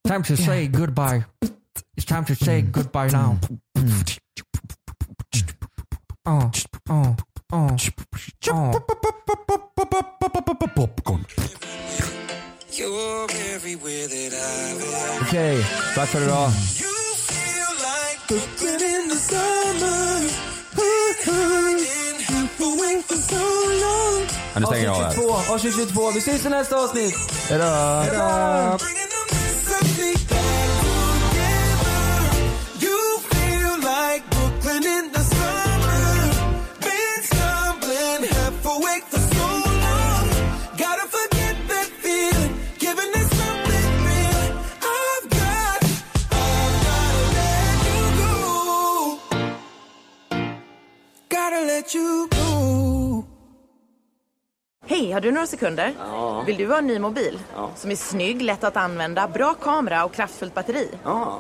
Speaker 17: Time to say goodbye. It's time to say goodbye now. Oh, oh, oh, oh.
Speaker 16: Popcorn.
Speaker 18: You're everywhere that I am.
Speaker 5: Okej, tack för idag.
Speaker 18: Feel like Brooklyn in the summer. Been going for so long.
Speaker 16: Ja, nu stänger jag av här.
Speaker 5: Avsnitt 22, avsnitt 22. Vi ses i nästa avsnitt. Hejdå. Hejdå.
Speaker 18: Something back together. You feel like Brooklyn in the summer. Been stumbling half awake for so long. Gotta forget that feeling. Giving it something real. I've got, I've gotta let you go. Gotta let you go.
Speaker 7: Hej, har du några sekunder? Vill du ha en ny mobil? Som är snygg, lätt att använda, bra kamera och kraftfullt batteri?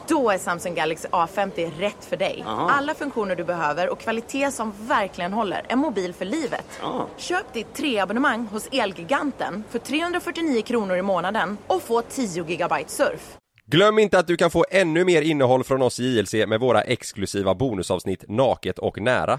Speaker 7: Då är Samsung Galaxy A50 rätt för dig.
Speaker 18: Ja.
Speaker 7: Alla funktioner du behöver och kvalitet som verkligen håller. En mobil för livet. Köp ditt treabonnemang hos Elgiganten för 349 kronor i månaden och få 10 GB surf.
Speaker 6: Glöm inte att du kan få ännu mer innehåll från oss i JLC med våra exklusiva bonusavsnitt Naket och nära.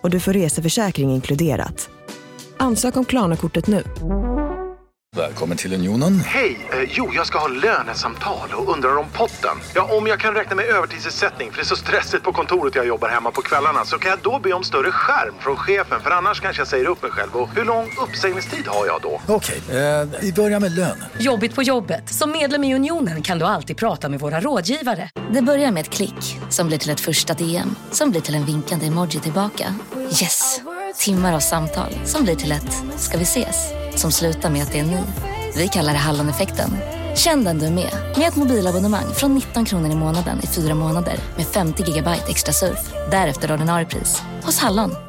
Speaker 1: och du får reseförsäkring inkluderat. Ansök om Klarna-kortet nu.
Speaker 19: Välkommen till Unionen.
Speaker 20: Hej! Eh, jo, jag ska ha lönesamtal och undrar om potten. Ja, om jag kan räkna med övertidsersättning för det är så stressigt på kontoret jag jobbar hemma på kvällarna så kan jag då be om större skärm från chefen för annars kanske jag säger upp mig själv. Och hur lång uppsägningstid har jag då?
Speaker 19: Okej, eh, vi börjar med lön.
Speaker 21: Jobbigt på jobbet. Som medlem i Unionen kan du alltid prata med våra rådgivare.
Speaker 22: Det börjar med ett klick som blir till ett första DM som blir till en vinkande emoji tillbaka. Yes! Timmar av samtal som blir till ett “ska vi ses?” som slutar med att det är ni. Vi kallar det Halloneffekten. Känn den du är med, med ett mobilabonnemang från 19 kronor i månaden i fyra månader med 50 gigabyte extra surf. Därefter ordinarie pris, hos Hallon.